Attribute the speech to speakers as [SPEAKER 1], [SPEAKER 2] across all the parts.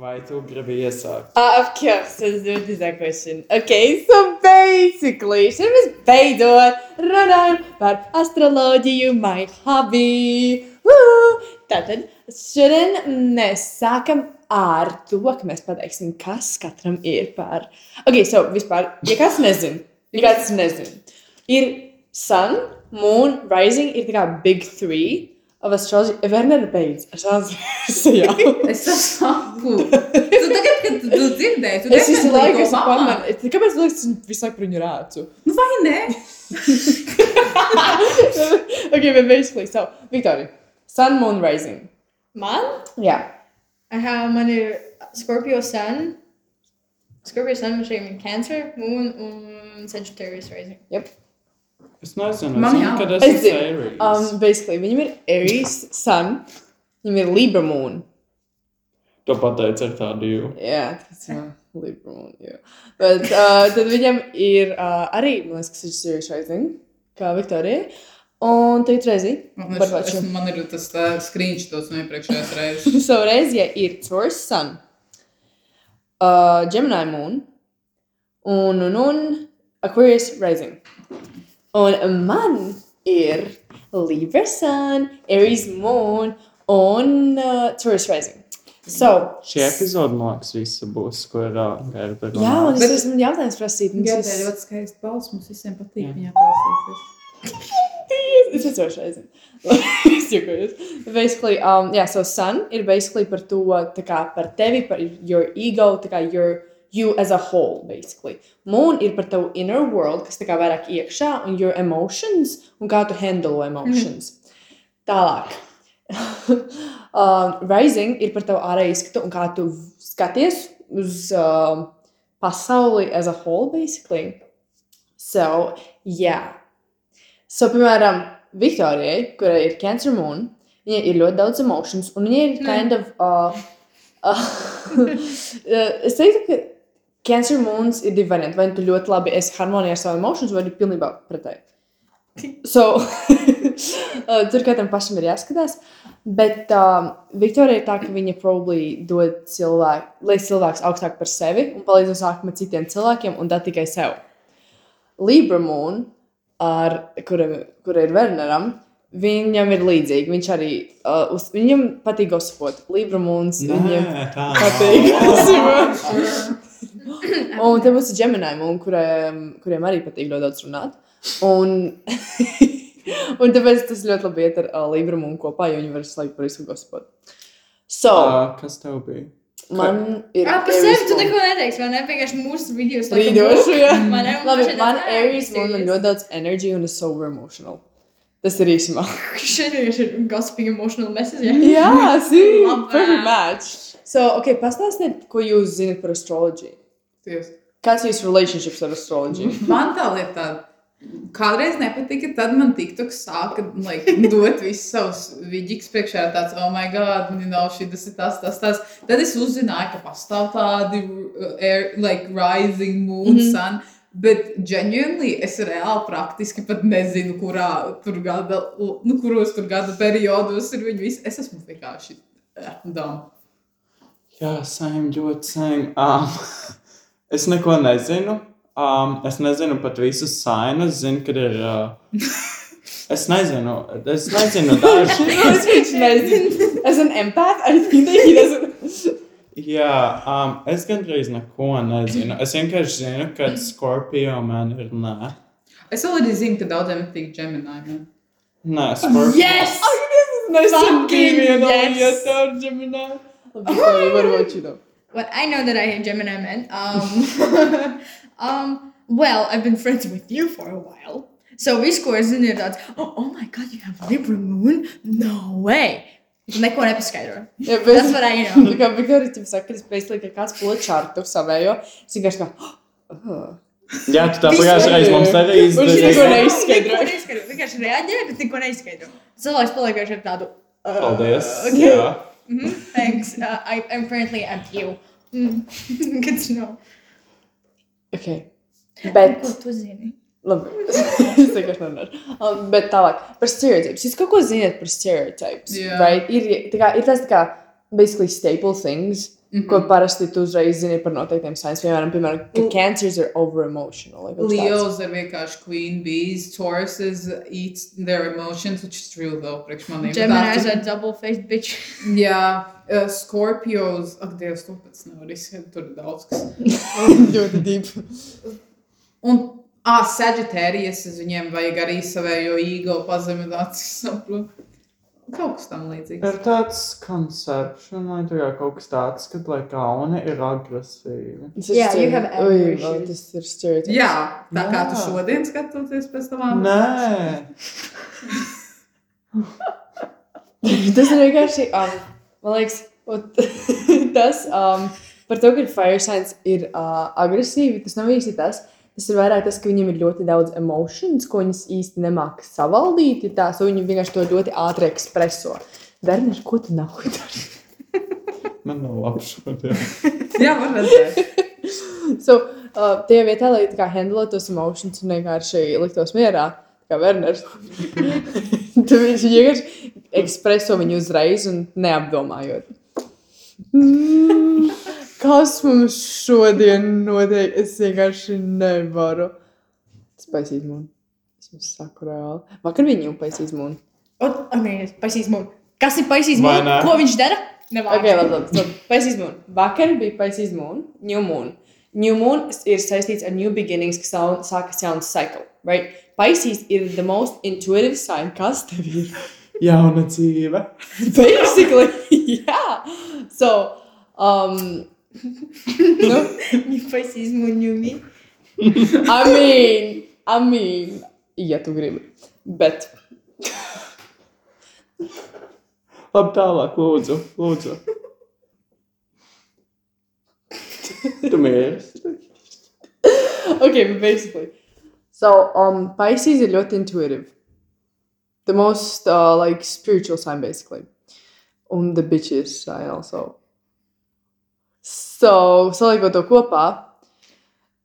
[SPEAKER 1] Vai tu gribi iesākt?
[SPEAKER 2] Uh, of course, let's do this a question. Okay, so basically, šim mēs beidzot runājam par astroloģiju, my hobby. Woo! Tātad šodien mēs sākam ar to, ka mēs pateiksim, kas katram ir par. Ok, so vispār, ja kāds nezina, ja kāds nezina, ir sun, moon, rising, ir tā kā big three of astrology. Vernera beidz ar sanskritu.
[SPEAKER 3] Es saku, tu tagad, kad tu tu dzirdēji, tu
[SPEAKER 2] Es visu
[SPEAKER 3] definitely
[SPEAKER 2] laiku
[SPEAKER 3] to
[SPEAKER 2] esmu
[SPEAKER 3] pamani.
[SPEAKER 2] pamanījis, kāpēc man liekas, es visu laiku par viņu rācu.
[SPEAKER 3] Nu, vai ne?
[SPEAKER 2] ok, bet basically, so, Viktorija, Sun Moon Rising.
[SPEAKER 4] Man?
[SPEAKER 2] Jā,
[SPEAKER 4] Aha, man ir Scorpio Sun. Scorpio Sun, man šeit ir Cancer, Moon un Sagittarius Rising.
[SPEAKER 1] Es nezinu,
[SPEAKER 3] Man
[SPEAKER 1] es zinu,
[SPEAKER 3] jā.
[SPEAKER 1] kad es
[SPEAKER 2] Es
[SPEAKER 1] esmu
[SPEAKER 2] zinu.
[SPEAKER 1] Aries.
[SPEAKER 2] um, basically, viņam ir Aries Sun, viņam ir Libra Moon.
[SPEAKER 1] Tu pateici ar tādu jūtu.
[SPEAKER 2] Jā, tas ir Libra Moon, jā. Bet uh, tad viņam ir uh, arī, man liekas, Sagittarius Rising, kā Viktorija. Un tagad reizi,
[SPEAKER 3] Man ir-
[SPEAKER 2] Barbaču.
[SPEAKER 3] es- Man ir tas tā, screenshots no iepriekšējās reizes.
[SPEAKER 2] savreiz, ja ir Taurus Sun, uh, Gemini Moon un, un, un Aquarius Rising. Un man ir Libra Sun, Aries Moon un uh, Taurus Rising. So,
[SPEAKER 1] Šī epizode, man liekas, visa būs, ko ir ārkārtīgi.
[SPEAKER 2] jā, un es
[SPEAKER 3] Bet-
[SPEAKER 2] esmu jautājums prasīt. un
[SPEAKER 3] Gada
[SPEAKER 2] es-
[SPEAKER 3] ir ļoti skaisti balss. Mums visiem patīk
[SPEAKER 1] Jā.
[SPEAKER 3] viņa klausīties.
[SPEAKER 2] It's a Taurus Rising. es jokojos. Basically, um, yeah, so Sun ir basically par to, tā kā par tevi, par your ego, tā kā your, you as a whole, basically. Moon ir par tavu inner world, kas tā kā vairāk iekšā, un your emotions, un kā tu handle emotions. Mm. Tālāk. um, rising ir par tavu ārēju izskatu, un kā tu skaties uz um, pasauli as a whole, basically. So, yeah. So, piemēram, Viktorijai, kurai ir Cancer Moon, viņai ir ļoti daudz emocijas, un viņai ir kind of. Uh, uh, es teiktu, ka Cancer Moons ir divi varianti. Vai nu tu ļoti labi esi harmonijā ar savām emocijām, vai arī pilnībā pretēji. So, uh, tur katram pašam ir jāskatās. Bet um, Viktorija ir tā, ka viņa probably dod cilvēku, lai cilvēks augstāk par sevi un palīdz uz sākuma citiem cilvēkiem un tā tikai sev. Libra Moon ar kura, kura ir Werneram, viņam ir līdzīgi. Viņš arī uh, uz, viņam patīk gosipot. Libra mūns viņam
[SPEAKER 1] tā
[SPEAKER 2] patīk gosipot. Un te mums ir Gemini mūn, kuriem, kuriem arī patīk ļoti daudz runāt. Un, un tāpēc tas ļoti labi iet ar uh, Libra mūnu kopā, jo viņi var slēgt par visu gosipot. So, uh,
[SPEAKER 1] Uh, kas tev bija?
[SPEAKER 2] man ir.
[SPEAKER 4] Ah, par sevi tu neko neteiksi, vai ne? Vienkārši mūsu video
[SPEAKER 2] Rīdošu, jā.
[SPEAKER 4] Man ir
[SPEAKER 2] Labi, man Aries mūn ir ļoti daudz energy un es sober emotional. Tas ir īsumā.
[SPEAKER 4] Šeit vienkārši ir gossiping emotional message. jā.
[SPEAKER 2] Jā, see,
[SPEAKER 4] Labā.
[SPEAKER 2] perfect match. So, okay, pastāstiet, ko jūs zinat par astroloģiju.
[SPEAKER 3] Dievs.
[SPEAKER 2] Kāds ir jūsu relationships ar astroloģiju?
[SPEAKER 3] Man tā lieta tāda. Kādreiz nepatika, tad man TikTok sāka like, dot visus savus vidīgus priekšā, tāds, oh, my God, you know, šī tas ir tas, tas, tas. Tad es uzzināju, ka pastāv tādi uh, air, like, rising moon, mm
[SPEAKER 2] Mhm.
[SPEAKER 3] -hmm. sun. Bet ģenēnīgi es reāli praktiski pat nezinu, kurā tur gada, nu, kuros tur gada periodos ir viņi visi. Es esmu vienkārši uh, dāmas.
[SPEAKER 1] Jā, saim, ļoti saim. Um, es neko nezinu. Um, es nezinu pat visus sainus. Zinu, kad ir. Uh, es nezinu. Es nezinu dažu.
[SPEAKER 2] Es viņš nezinu. As an empath, I think that he doesn't.
[SPEAKER 1] Jā, um, es gandrīz neko nezinu. Es vienkārši zinu, ka Scorpio man ir nē.
[SPEAKER 3] Es vēl arī zinu, ka daudziem patīk ģenēnīgi.
[SPEAKER 1] Nē,
[SPEAKER 4] Oh,
[SPEAKER 1] Scorpio.
[SPEAKER 4] Yes!
[SPEAKER 2] Nezinu,
[SPEAKER 4] Fucking yes.
[SPEAKER 2] ar ģimenē. Labi, varbūt šī nav.
[SPEAKER 4] Well, I know that I hate Gemini men. Um, um, well, I've been friends with you for a while. So we score isn't it that oh, oh my god, you have Libra moon? No way. Neko nepaskaidro.
[SPEAKER 2] Jā,
[SPEAKER 4] That's
[SPEAKER 2] bet.
[SPEAKER 4] what I know.
[SPEAKER 2] Kā Viktorija tev saka, es pēc tam, ka kāds pula čārtu savējo, es vienkārši kā. "Oh."
[SPEAKER 1] Jā, tu tā pagājušajā reizē mums arī
[SPEAKER 2] Un šī neko
[SPEAKER 1] izdarīji.
[SPEAKER 2] ne- neizskaidro.
[SPEAKER 4] Neko neizskaidro. Vienkārši reaģē, bet neko neizskaidro. Cilvēks paliek ar tādu. Uh,
[SPEAKER 1] Paldies.
[SPEAKER 4] Okay.
[SPEAKER 1] Jā.
[SPEAKER 4] mhm, thanks. Uh, I, I'm currently at you. Mm. Good to know.
[SPEAKER 2] Ok. Bet.
[SPEAKER 4] Ko tu zini?
[SPEAKER 2] Labi, es vienkārši nemanāšu. Um, bet tālāk par stereotipiem. Jūs kaut ko zinat par stereotipiem?
[SPEAKER 3] Jā.
[SPEAKER 2] Right? Ir, tā kā, ir tas tā kā basically staple things,
[SPEAKER 4] Mhm.
[SPEAKER 2] ko parasti tu uzreiz zini par noteiktiem signs. Piemēram, piemēram ka
[SPEAKER 3] L-
[SPEAKER 2] cancers are over emotional. Like, kaut kas tāds.
[SPEAKER 3] Leos ir vienkārši queen bees, Tauruses eat their emotions, which is true though, priekš maniem.
[SPEAKER 4] Gemini's a double faced bitch.
[SPEAKER 3] Jā, uh, Scorpios, ak, Dievs, to pēc nav risinājums, tur ir daudz kas.
[SPEAKER 2] ļoti dziļi.
[SPEAKER 3] Un, ah, Sagittarius, es viņiem vajag arī savējo ego pazemināt, saprotu. Kaut kas tam līdzīgs.
[SPEAKER 1] Ir tāds conception, vai tā kā kaut kas tāds, ka lai kauni ir agresīvi.
[SPEAKER 4] Yeah, you have anger issues.
[SPEAKER 2] Oh, Tas ir stereotypes.
[SPEAKER 3] Jā, tā kā tu
[SPEAKER 1] Jā.
[SPEAKER 3] šodien skatoties pēc tavām.
[SPEAKER 1] Nē,
[SPEAKER 2] tas ir vienkārši, um, man liekas, ot- tas um, par to, ka fire signs ir uh, agresīvi, tas nav īsti tas. Tas ir vairāk tas, ka viņiem ir ļoti daudz emocijas, ko viņas īsti nemāķi savaldīt. ir Tā, so viņi vienkārši to ļoti ātri ekspreso. Werner, ko tu nav darījis?
[SPEAKER 1] man nav labi šodien.
[SPEAKER 3] Jā, var redzēt.
[SPEAKER 2] so, uh, tie vietā, lai tā kā handlot tos emocijas un vienkārši liktos mierā, kā Werners. Tad viņš vienkārši ekspreso viņu uzreiz un neapdomājot. Mm, Kas mums šodien notiek? Es vienkārši nevaru. Spaisīt mūnu. Es jums saku reāli. Vakar viņi jau paisīs mūnu.
[SPEAKER 4] Oh, nē, paisīs mūnu. Kas ir paisīs
[SPEAKER 1] Vai
[SPEAKER 4] mūnu?
[SPEAKER 1] ne?
[SPEAKER 4] Ko viņš dara? Nevajag.
[SPEAKER 2] Okay, labi, labi. labi. Paisīs mūnu. Vakar bija paisīs mūnu, new moon. New moon ir saistīts ar new beginnings, kas sau- sākas jauns cycle. Right? Paisīs ir the most intuitive sign, kas tev ir.
[SPEAKER 1] Jauna dzīve.
[SPEAKER 2] Basically, yeah. So, um, no,
[SPEAKER 4] Viņa paisīs mūnu, jūmi.
[SPEAKER 2] I mean, I mean, ja tu gribi. Bet,
[SPEAKER 1] Labi, tālāk, lūdzu. lūdzu. Tu mīli.
[SPEAKER 2] okay, but basically. So, um, Pisces ir ļoti intuitive. The most, uh, like, spiritual sign, basically. Un the bitches sign also. So, saliekot to kopā,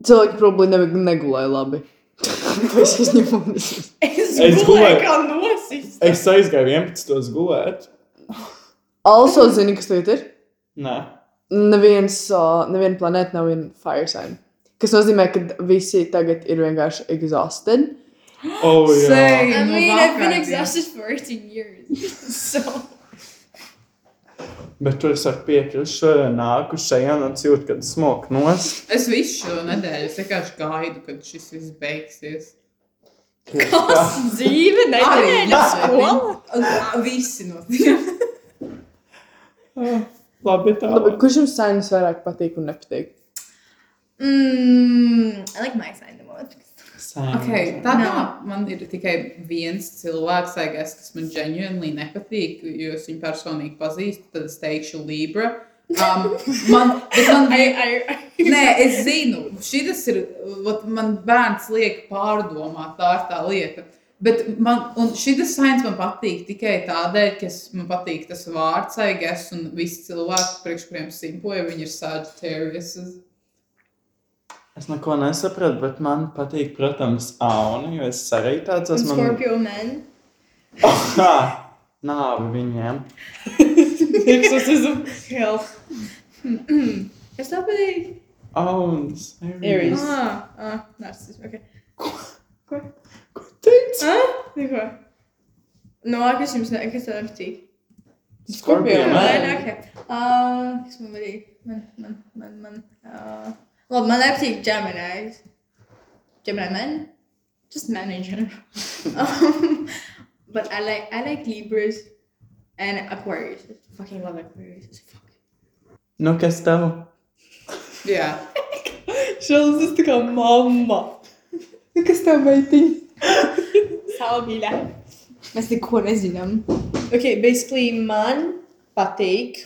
[SPEAKER 2] cilvēki probably ne negulēja labi. Pisces ņemonis.
[SPEAKER 4] Es
[SPEAKER 1] Es
[SPEAKER 4] gulēju
[SPEAKER 1] gulēju.
[SPEAKER 4] kā nosis.
[SPEAKER 1] Es aizgāju 11. gulēt.
[SPEAKER 2] Also, zini, kas tagad ir?
[SPEAKER 1] Nē,
[SPEAKER 2] neviens, uh, neviena planēta nav viena fire sign. Kas nozīmē, ka visi tagad ir vienkārši exhausted.
[SPEAKER 1] oh, jā.
[SPEAKER 3] Sei.
[SPEAKER 4] I
[SPEAKER 3] No
[SPEAKER 4] mean, I've been
[SPEAKER 3] Valkyrie.
[SPEAKER 4] exhausted for 18 years. So.
[SPEAKER 1] Bet tur es ar piekrītu, šodien nāku šajā un jūtu, kad smok nos.
[SPEAKER 3] Es visu šo nedēļu es vienkārši gaidu, kad šis viss beigsies.
[SPEAKER 4] Kas dzīve? Nedēļa skola?
[SPEAKER 3] Nē, Visi no tiem.
[SPEAKER 1] Labi,
[SPEAKER 2] Labi,
[SPEAKER 1] tālāk.
[SPEAKER 2] kurš jums signs vairāk patīk un nepatīk?
[SPEAKER 4] Mm, I like my sign the most.
[SPEAKER 3] Okay,
[SPEAKER 1] Saimnieks.
[SPEAKER 3] tā
[SPEAKER 4] No.
[SPEAKER 3] kā nu, man ir tikai viens cilvēks, I guess, kas man ģenēni nepatīk, jo es viņu personīgi pazīstu, tad es teikšu Libra. Um, man, bet man
[SPEAKER 4] I,
[SPEAKER 3] bija.
[SPEAKER 4] I,
[SPEAKER 3] Nē, es zinu, šis ir. vat Man bērns liek pārdomāt, tā ir tā lieta. Bet man, un šis sāņš man patīk tikai tādēļ, ka es- man patīk tas vārds, I guess, un visi cilvēki, priekš kuriem simpoja, viņi ir Sagittarius.
[SPEAKER 1] Es neko nesapratu, bet man patīk, protams, auna, jo es arī tāds
[SPEAKER 4] I'm
[SPEAKER 1] esmu.
[SPEAKER 4] Scorpio man.
[SPEAKER 1] Kā nāve viņiem.
[SPEAKER 4] Exorcism. Hell. Es labi.
[SPEAKER 1] Auns.
[SPEAKER 2] Aries.
[SPEAKER 4] Ah, ah, narcissism. Okay.
[SPEAKER 1] Ko teici?
[SPEAKER 4] Ah, neko. No, kas jums ne, kas tev patīk?
[SPEAKER 1] Scorpio
[SPEAKER 4] Man,
[SPEAKER 1] man.
[SPEAKER 4] okay. Uh, kas man patīk? Man, man, man, man. Uh, labi, man nepatīk Gemini's. Gemini men? Just men in general. um, but I like, I like Libras and Aquarius. Fucking love Aquarius. Fuck.
[SPEAKER 1] Nu, kas tev?
[SPEAKER 3] Jā,
[SPEAKER 2] Šāds tas tā kā mamma. Nu, Kas tā meitiņa?
[SPEAKER 4] Salvīla. Mēs neko nezinām. Ok, basically man patīk.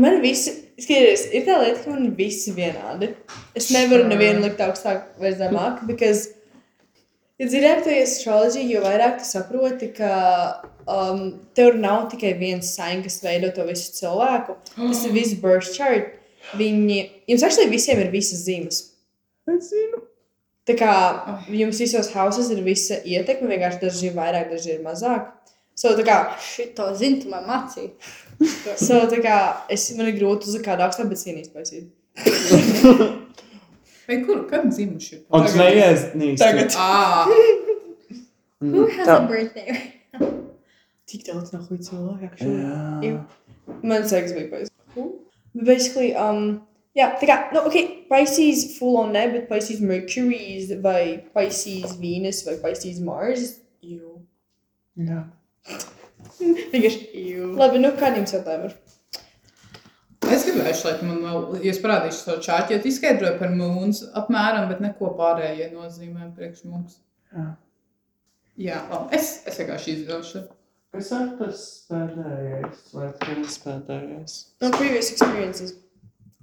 [SPEAKER 2] Man visi, skaties, ir tā lieta, ka man visi vienādi. Es nevaru
[SPEAKER 3] Sure.
[SPEAKER 2] nevienu likt augstāk vai zemāk, because, ja dziļāk tu ies astroloģija, jo vairāk tu saproti, ka um, tev nav tikai viens signs, kas veido to visu cilvēku. Tas ir viss birth chart. Viņi, jums actually visiem ir visas zīmes.
[SPEAKER 1] Es zinu.
[SPEAKER 2] Tā kā jums visos hausos ir visa ietekme, vienkārši daži ir vairāk, daži ir mazāk. So, tā kā,
[SPEAKER 4] Šito zinu, tu man mācīji.
[SPEAKER 2] so, tā kā es, man ir grūti uzlikt kādu augstu, bet cīnīties paisīt.
[SPEAKER 3] Vai kur, kad dzimuši?
[SPEAKER 1] Un tu neiesnīsti.
[SPEAKER 2] Tagad.
[SPEAKER 3] Ah,
[SPEAKER 4] Who has
[SPEAKER 1] tā-
[SPEAKER 4] a birthday?
[SPEAKER 2] Tik daudz nav huīts cilvēku. actually.
[SPEAKER 1] Jā.
[SPEAKER 2] Man seks bija paisīt. But basically, um, jā, tā kā, nu, ok, Pisces full on ne, bet Pisces Mercury's vai Pisces Venus vai Pisces Mars. Jū.
[SPEAKER 1] Jā.
[SPEAKER 4] Vienkārši jū.
[SPEAKER 2] Labi, nu kādiem jautājumiem?
[SPEAKER 3] es gribēju šeit, man vēl, jūs parādīšu savu čārķi, jo tu izskaidroji par mūns apmēram, bet neko pārējie nozīmē priekš mums.
[SPEAKER 1] Jā.
[SPEAKER 3] Jā, labi. Es, es vienkārši izdošu.
[SPEAKER 1] Kas ir tas pēdējais? Vai tas pēdējais?
[SPEAKER 2] No previous experiences.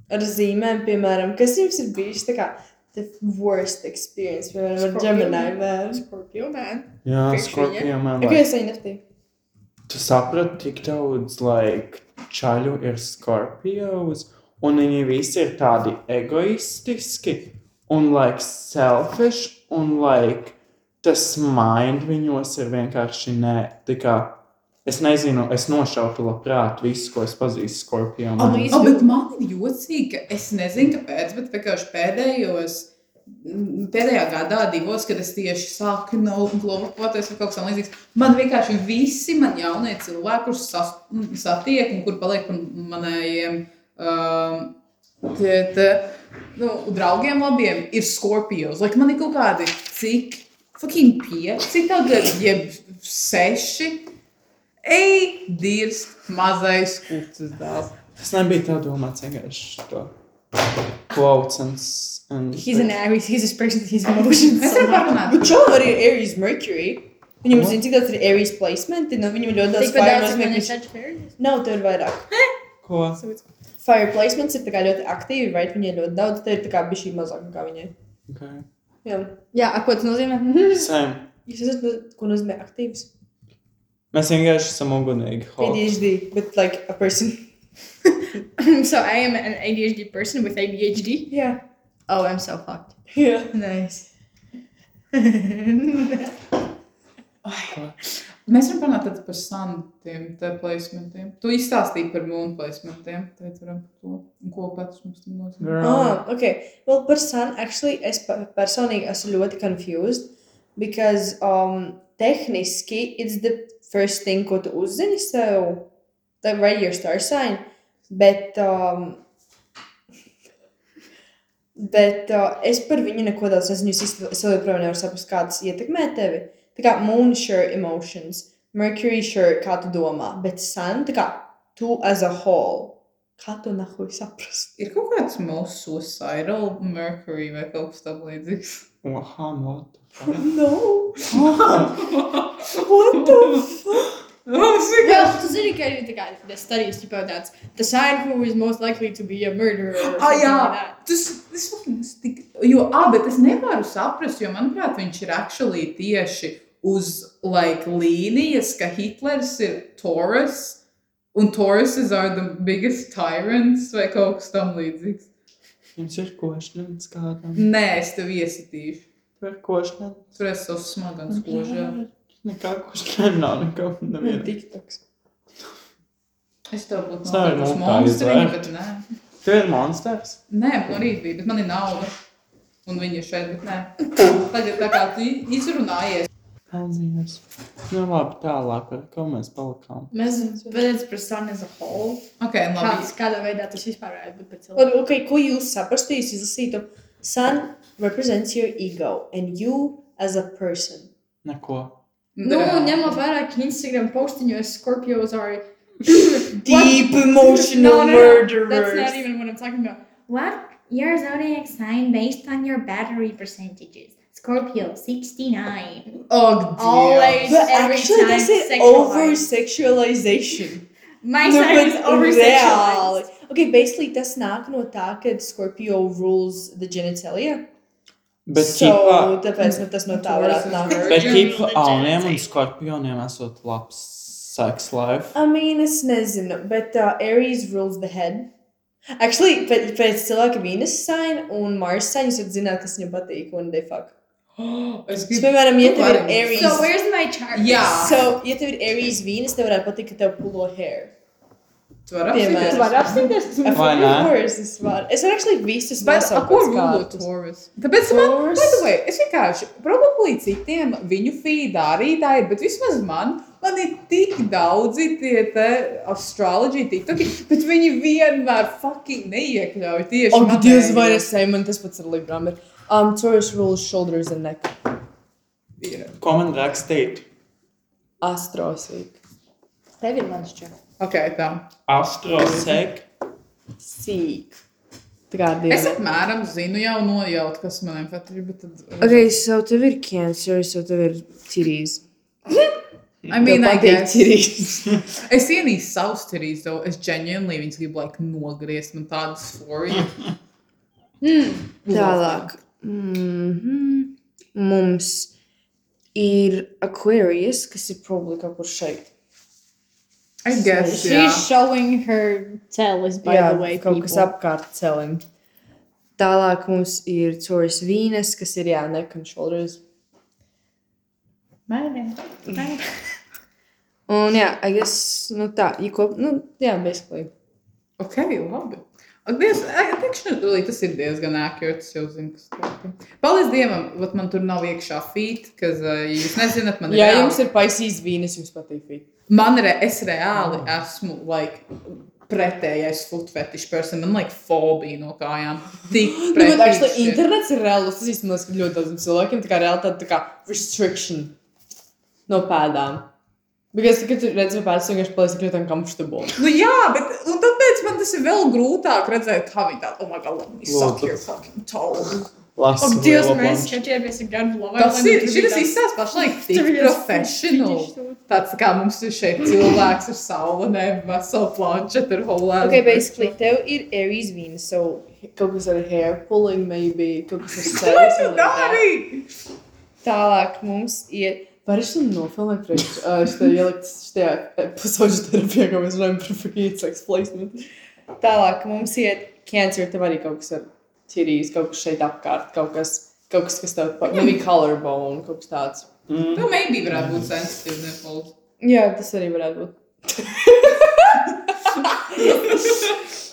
[SPEAKER 2] Ar zīmēm, piemēram, kas jums ir bijis tā kā the worst experience, piemēram, ar
[SPEAKER 4] Scorpio.
[SPEAKER 2] Gemini man.
[SPEAKER 4] Scorpio man.
[SPEAKER 1] Jā,
[SPEAKER 4] Priekšējie?
[SPEAKER 1] Skorpijā man
[SPEAKER 2] Ok,
[SPEAKER 1] liekas.
[SPEAKER 2] es viņu nepatīk.
[SPEAKER 1] Tu saprati, cik daudz like, čaļu ir Skorpijos, un viņi visi ir tādi egoistiski un like, selfish, un like, tas mind viņos ir vienkārši nē. tā kā, Es nezinu, es nošautu labprāt visu, ko es pazīstu Skorpijā.
[SPEAKER 2] Ah, nu,
[SPEAKER 3] Oh, bet man ir jocīgi, ka es nezinu, kāpēc, bet vienkārši pēdējos. mm, Pēdējā gadā, divos, kad es tieši sāku no globoties vai kaut kas tamlīdzīgs, man vienkārši visi man jaunie cilvēki, kurus sas- mm, satiek un kur paliek par manējiem um, tad, nu, draugiem labiem, ir skorpions. Like, man ir kaut kādi cik, fucking pieci tagad, jeb seši. Ej, dirst, mazais kūcis dēls.
[SPEAKER 1] Tas nebija tā domāts vienkārši to quotes and. s- and
[SPEAKER 4] He's an Aries. He's expressing his emotions.
[SPEAKER 3] Mēs varam pārunāt.
[SPEAKER 2] Bet čau arī ir Aries Mercury. Viņam
[SPEAKER 1] Ko?
[SPEAKER 2] zina, cik daudz ir Aries placement, no viņam ļoti daudz
[SPEAKER 4] Tikpat daudz,
[SPEAKER 2] fire
[SPEAKER 4] ka man ir
[SPEAKER 2] placement.
[SPEAKER 4] such fairies.
[SPEAKER 2] Nav, tev ir vairāk.
[SPEAKER 1] Ko?
[SPEAKER 2] Fire placements ir tā kā ļoti aktīvi, right? Viņai ļoti daudz, te ir tā kā bišķi mazāk nekā viņai.
[SPEAKER 1] Okay.
[SPEAKER 2] Jā.
[SPEAKER 4] Jā, a, ko tas nozīmē? Mhm.
[SPEAKER 1] Same.
[SPEAKER 2] Jūs esat, ko nozīmē aktīvs?
[SPEAKER 1] Mēs vienkārši esam ugunīgi. Hulk.
[SPEAKER 2] ADHD, but like a person.
[SPEAKER 4] so I am an ADHD person with ADHD.
[SPEAKER 2] Jā.
[SPEAKER 4] Oh, I'm so fucked.
[SPEAKER 2] Jā.
[SPEAKER 4] Nice.
[SPEAKER 3] Mēs varam parunāt tad par santiem, te placementiem. Tu izstāstīji par mūnu placementiem. Tad varam par to, un ko pats mums tam nozīmē.
[SPEAKER 1] Girl.
[SPEAKER 2] Ah, okay. Well, person, actually, es pe- personīgi esmu ļoti confused, because um, tehniski it's the first thing, ko tu uzzini sev, like right your star sign, bet, um, bet uh, es par viņu neko daudz nezinu, es īsti es vēl joprojām nevaru saprast, kā tas ietekmē tevi. Tā kā moon sure emotions, mercury sure, kā tu domā, bet sun, tā kā tu as a whole, kā tu nahuj saprast?
[SPEAKER 3] Ir kaut kāds mūsu suicidal mercury vai kaut kas tamlīdzīgs.
[SPEAKER 1] Oha, what the fuck?
[SPEAKER 2] No!
[SPEAKER 3] What the fuck?
[SPEAKER 4] Well, to indicate the guy the studies about that the sign who is most likely to be a murderer. Or
[SPEAKER 3] Ah,
[SPEAKER 4] something
[SPEAKER 3] jā.
[SPEAKER 4] Like that.
[SPEAKER 3] Tas, tas fucking es tik, jo, ah, bet es nevaru saprast, jo, manuprāt, viņš ir actually tieši uz, like, līnijas, ka Hitlers ir Taurus, un Tauruses are the biggest tyrants, vai kaut kas tam līdzīgs.
[SPEAKER 1] Jums ir košņins kādam?
[SPEAKER 3] Nē, es tev iesitīšu.
[SPEAKER 1] Tur ir košņins.
[SPEAKER 3] Tur es esmu smagans, kožā.
[SPEAKER 1] Nekā košņina nav, nekam nevienam.
[SPEAKER 2] TikToks.
[SPEAKER 3] Es tev būtu
[SPEAKER 1] Es nevaru
[SPEAKER 3] nopirkus
[SPEAKER 1] man tā
[SPEAKER 3] monstriņu,
[SPEAKER 1] izvērt.
[SPEAKER 3] bet nē.
[SPEAKER 1] Tu ir monsters?
[SPEAKER 3] Nē, man arī bija, bet man ir nauda. Un viņi ir šeit, bet nē. Tagad tā kā tu izrunājies.
[SPEAKER 1] Paldies. Nu labi, tālāk, par ko mēs palikām.
[SPEAKER 4] Mēs redzam par sun as a whole.
[SPEAKER 3] Ok,
[SPEAKER 4] Kā,
[SPEAKER 3] labi.
[SPEAKER 4] kādā veidā tas vispār varētu būt par cilvēku?
[SPEAKER 2] Labi, okay, ko jūs saprastu, jūs izlasītu? Sun represents your ego and you as a person.
[SPEAKER 1] Neko.
[SPEAKER 4] Nu, ņemot vērā, ka Instagram eh, postiņos Scorpios are...
[SPEAKER 2] Deep emotional
[SPEAKER 4] That's not
[SPEAKER 2] murderers.
[SPEAKER 4] even what I'm talking about.
[SPEAKER 5] What? Your zodiac sign based on your battery percentages. Scorpio, 69.
[SPEAKER 3] Og,
[SPEAKER 4] Always,
[SPEAKER 2] But
[SPEAKER 4] every
[SPEAKER 2] actually,
[SPEAKER 4] time,
[SPEAKER 2] that's an
[SPEAKER 4] sexualized.
[SPEAKER 2] over sexualization.
[SPEAKER 4] My sign is over sexualized.
[SPEAKER 2] Okay, basically, tas nāk no tā, ka Scorpio rules the genitalia.
[SPEAKER 1] Bet
[SPEAKER 2] so,
[SPEAKER 1] tīpā,
[SPEAKER 2] tāpēc nu, tas no tā
[SPEAKER 3] Taurus
[SPEAKER 2] varētu
[SPEAKER 3] is
[SPEAKER 2] nākt.
[SPEAKER 1] bet
[SPEAKER 4] Virgin
[SPEAKER 1] tīpā
[SPEAKER 4] religion,
[SPEAKER 1] auniem un
[SPEAKER 4] teikt.
[SPEAKER 1] skorpioniem esot labs sex life.
[SPEAKER 2] I mean, es nezinu, bet uh, Aries rules the head. Actually, pēc, pēc cilvēka Venus sign un Mars sign jūs varat zināt, kas viņam patīk un they fuck.
[SPEAKER 3] Es
[SPEAKER 2] Es,
[SPEAKER 3] gribu
[SPEAKER 2] piemēram, ja tev ir
[SPEAKER 3] Varbūt.
[SPEAKER 2] Aries.
[SPEAKER 5] So where's my chart?
[SPEAKER 3] Jā.
[SPEAKER 2] So, ja tev ir Aries vīnes, tev varētu patikt, ka tev pulo hair.
[SPEAKER 3] to apspriest.
[SPEAKER 2] Piemēram.
[SPEAKER 6] Tu vari apstāties, kas
[SPEAKER 2] Of
[SPEAKER 6] mums
[SPEAKER 1] Vai ne?
[SPEAKER 2] course, es varu. Es varu actually visus
[SPEAKER 3] Bet ar ko
[SPEAKER 2] nosaukt
[SPEAKER 3] runāt?
[SPEAKER 2] kāds.
[SPEAKER 3] Tāpēc man,
[SPEAKER 2] Taurus.
[SPEAKER 3] by the way, es vienkārši, probably citiem viņu feedā arī tā ir, bet vismaz man, man ir tik daudzi tie te astroloģija tiktoki, bet viņi vienmēr fucking neiekļauj tieši
[SPEAKER 2] Oh,
[SPEAKER 3] manējos.
[SPEAKER 2] Dievs, vai es sei, man tas pats ir Libram. ir. Um, Taurus rules shoulders and neck.
[SPEAKER 3] Jā.
[SPEAKER 1] Ko man rakstīt?
[SPEAKER 2] Astrosvīk. Tev ir mans čak.
[SPEAKER 3] Ok, tā.
[SPEAKER 1] Astrosek.
[SPEAKER 2] Sīk. Tā kā
[SPEAKER 3] Es
[SPEAKER 2] divi.
[SPEAKER 3] apmēram zinu jau nojaut, kas maniem patīk, bet tad... uh,
[SPEAKER 2] Ok, so tev ir cancer, so tev ir titties.
[SPEAKER 3] I mean, I guess.
[SPEAKER 2] titties.
[SPEAKER 3] Es ienīstu savus tirīs, though. Es genuinely viņas gribu, like, nogriezt man tādas forijas.
[SPEAKER 2] Tālāk. Mhm. Mums ir Aquarius, kas ir probably kaut kur šeit.
[SPEAKER 3] I guess,
[SPEAKER 4] She's
[SPEAKER 3] jā.
[SPEAKER 4] showing her tail, by
[SPEAKER 2] Jā,
[SPEAKER 4] the way.
[SPEAKER 2] kaut
[SPEAKER 4] people.
[SPEAKER 2] kas apkārt celim. Tālāk mums ir Taurus Vīnes, kas ir jā, neck and shoulders. Un jā, I guess, nu tā, īko, nu, jā, basically.
[SPEAKER 3] Ok, labi. Ak, Dievs, ai, teikšu, Lī, tas ir diezgan accurate. Es jau zinu, kas tur ir. Paldies Dievam, vat man tur nav iekšā feet, kas, ja jūs nezināt, man ir.
[SPEAKER 2] Jā,
[SPEAKER 3] reāli-
[SPEAKER 2] jums ir paisīs Vīnes, jums patīk feet.
[SPEAKER 3] Man re, es reāli esmu, like, pretējais foot fetish person. Man, like, fobija no kājām. Tik
[SPEAKER 2] Nu, bet, actually,
[SPEAKER 3] pretīgi šķiet.
[SPEAKER 2] internets ir reāli uzsācis, man liekas, ka ļoti daudziem cilvēkiem tā kā reāli tāda tā kā restriction no pēdām. Because, kad tu redzi, ka pēdas vienkārši paliek ļoti uncomfortable.
[SPEAKER 3] Nu, jā, bet un tāpēc man tas ir vēl grūtāk redzēt, kā viņi tādu, oh, my God, let me suck
[SPEAKER 1] Lūdzu.
[SPEAKER 3] your fucking toe.
[SPEAKER 1] Lasu.
[SPEAKER 4] Ak, Dievs,
[SPEAKER 1] lielo
[SPEAKER 4] mēs
[SPEAKER 1] planšu.
[SPEAKER 4] skatāmies uz gadu labi.
[SPEAKER 3] Tas
[SPEAKER 2] nu
[SPEAKER 3] ir, šis izstāsts pašlaik tik profesionāli. Tāds kā mums ir šeit cilvēks ar saulēm, veselu planšetu, ar holēnu.
[SPEAKER 2] Ok, basically, tev ir Aries Venus, so kaut kas ar hair pulling, maybe, kaut kas ar sevi.
[SPEAKER 3] Ko tu
[SPEAKER 2] something like that.
[SPEAKER 3] dari?
[SPEAKER 2] Tālāk mums ir. Vari šo nofilmēt priekš, uh, šitā ielikt šajā pusauģu terapijā, kā mēs runājam par fucking sex placement. Tālāk mums ir cancer, tev arī kaut kas ar tirijas, kaut kas šeit apkārt, kaut kas, kaut kas, kas tev, pa- maybe collarbone, kaut kas tāds.
[SPEAKER 1] Mm.
[SPEAKER 3] Tu Nu, maybe varētu būt sensitīvs nipples.
[SPEAKER 2] Jā, tas arī varētu būt.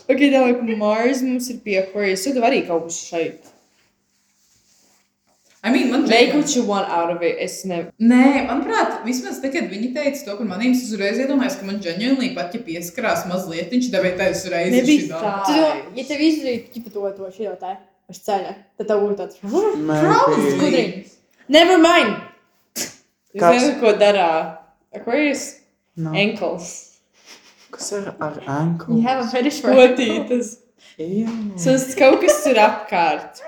[SPEAKER 2] ok, tālāk Mars mums ir pie Aquarius, so tev arī kaut kas šeit.
[SPEAKER 3] I mean, man
[SPEAKER 2] Make what you want out of it, es ne...
[SPEAKER 3] Nē, manuprāt, vismaz tad, kad viņi teica to par maniem, es uzreiz iedomājos, ka man ģenēlī pat, ja pieskarās mazliet, viņš devēja tā uzreiz.
[SPEAKER 2] Nebija
[SPEAKER 3] ir šī
[SPEAKER 2] tā.
[SPEAKER 3] doma.
[SPEAKER 6] Tu domā, ja tev izdarītu tipa to, to šī tā, uz ceļa, tad tev būtu tāds. "Huh?"
[SPEAKER 1] Maybe.
[SPEAKER 6] Gudri.
[SPEAKER 2] Never mind! Jūs
[SPEAKER 1] Kāds?
[SPEAKER 2] nezināt, ko darā Aquarius
[SPEAKER 1] No.
[SPEAKER 2] ankles.
[SPEAKER 1] Kas ir ar anklu?
[SPEAKER 6] You have a fetish for it.
[SPEAKER 2] Potītas.
[SPEAKER 1] Jā.
[SPEAKER 2] Tas kaut kas ir apkārt.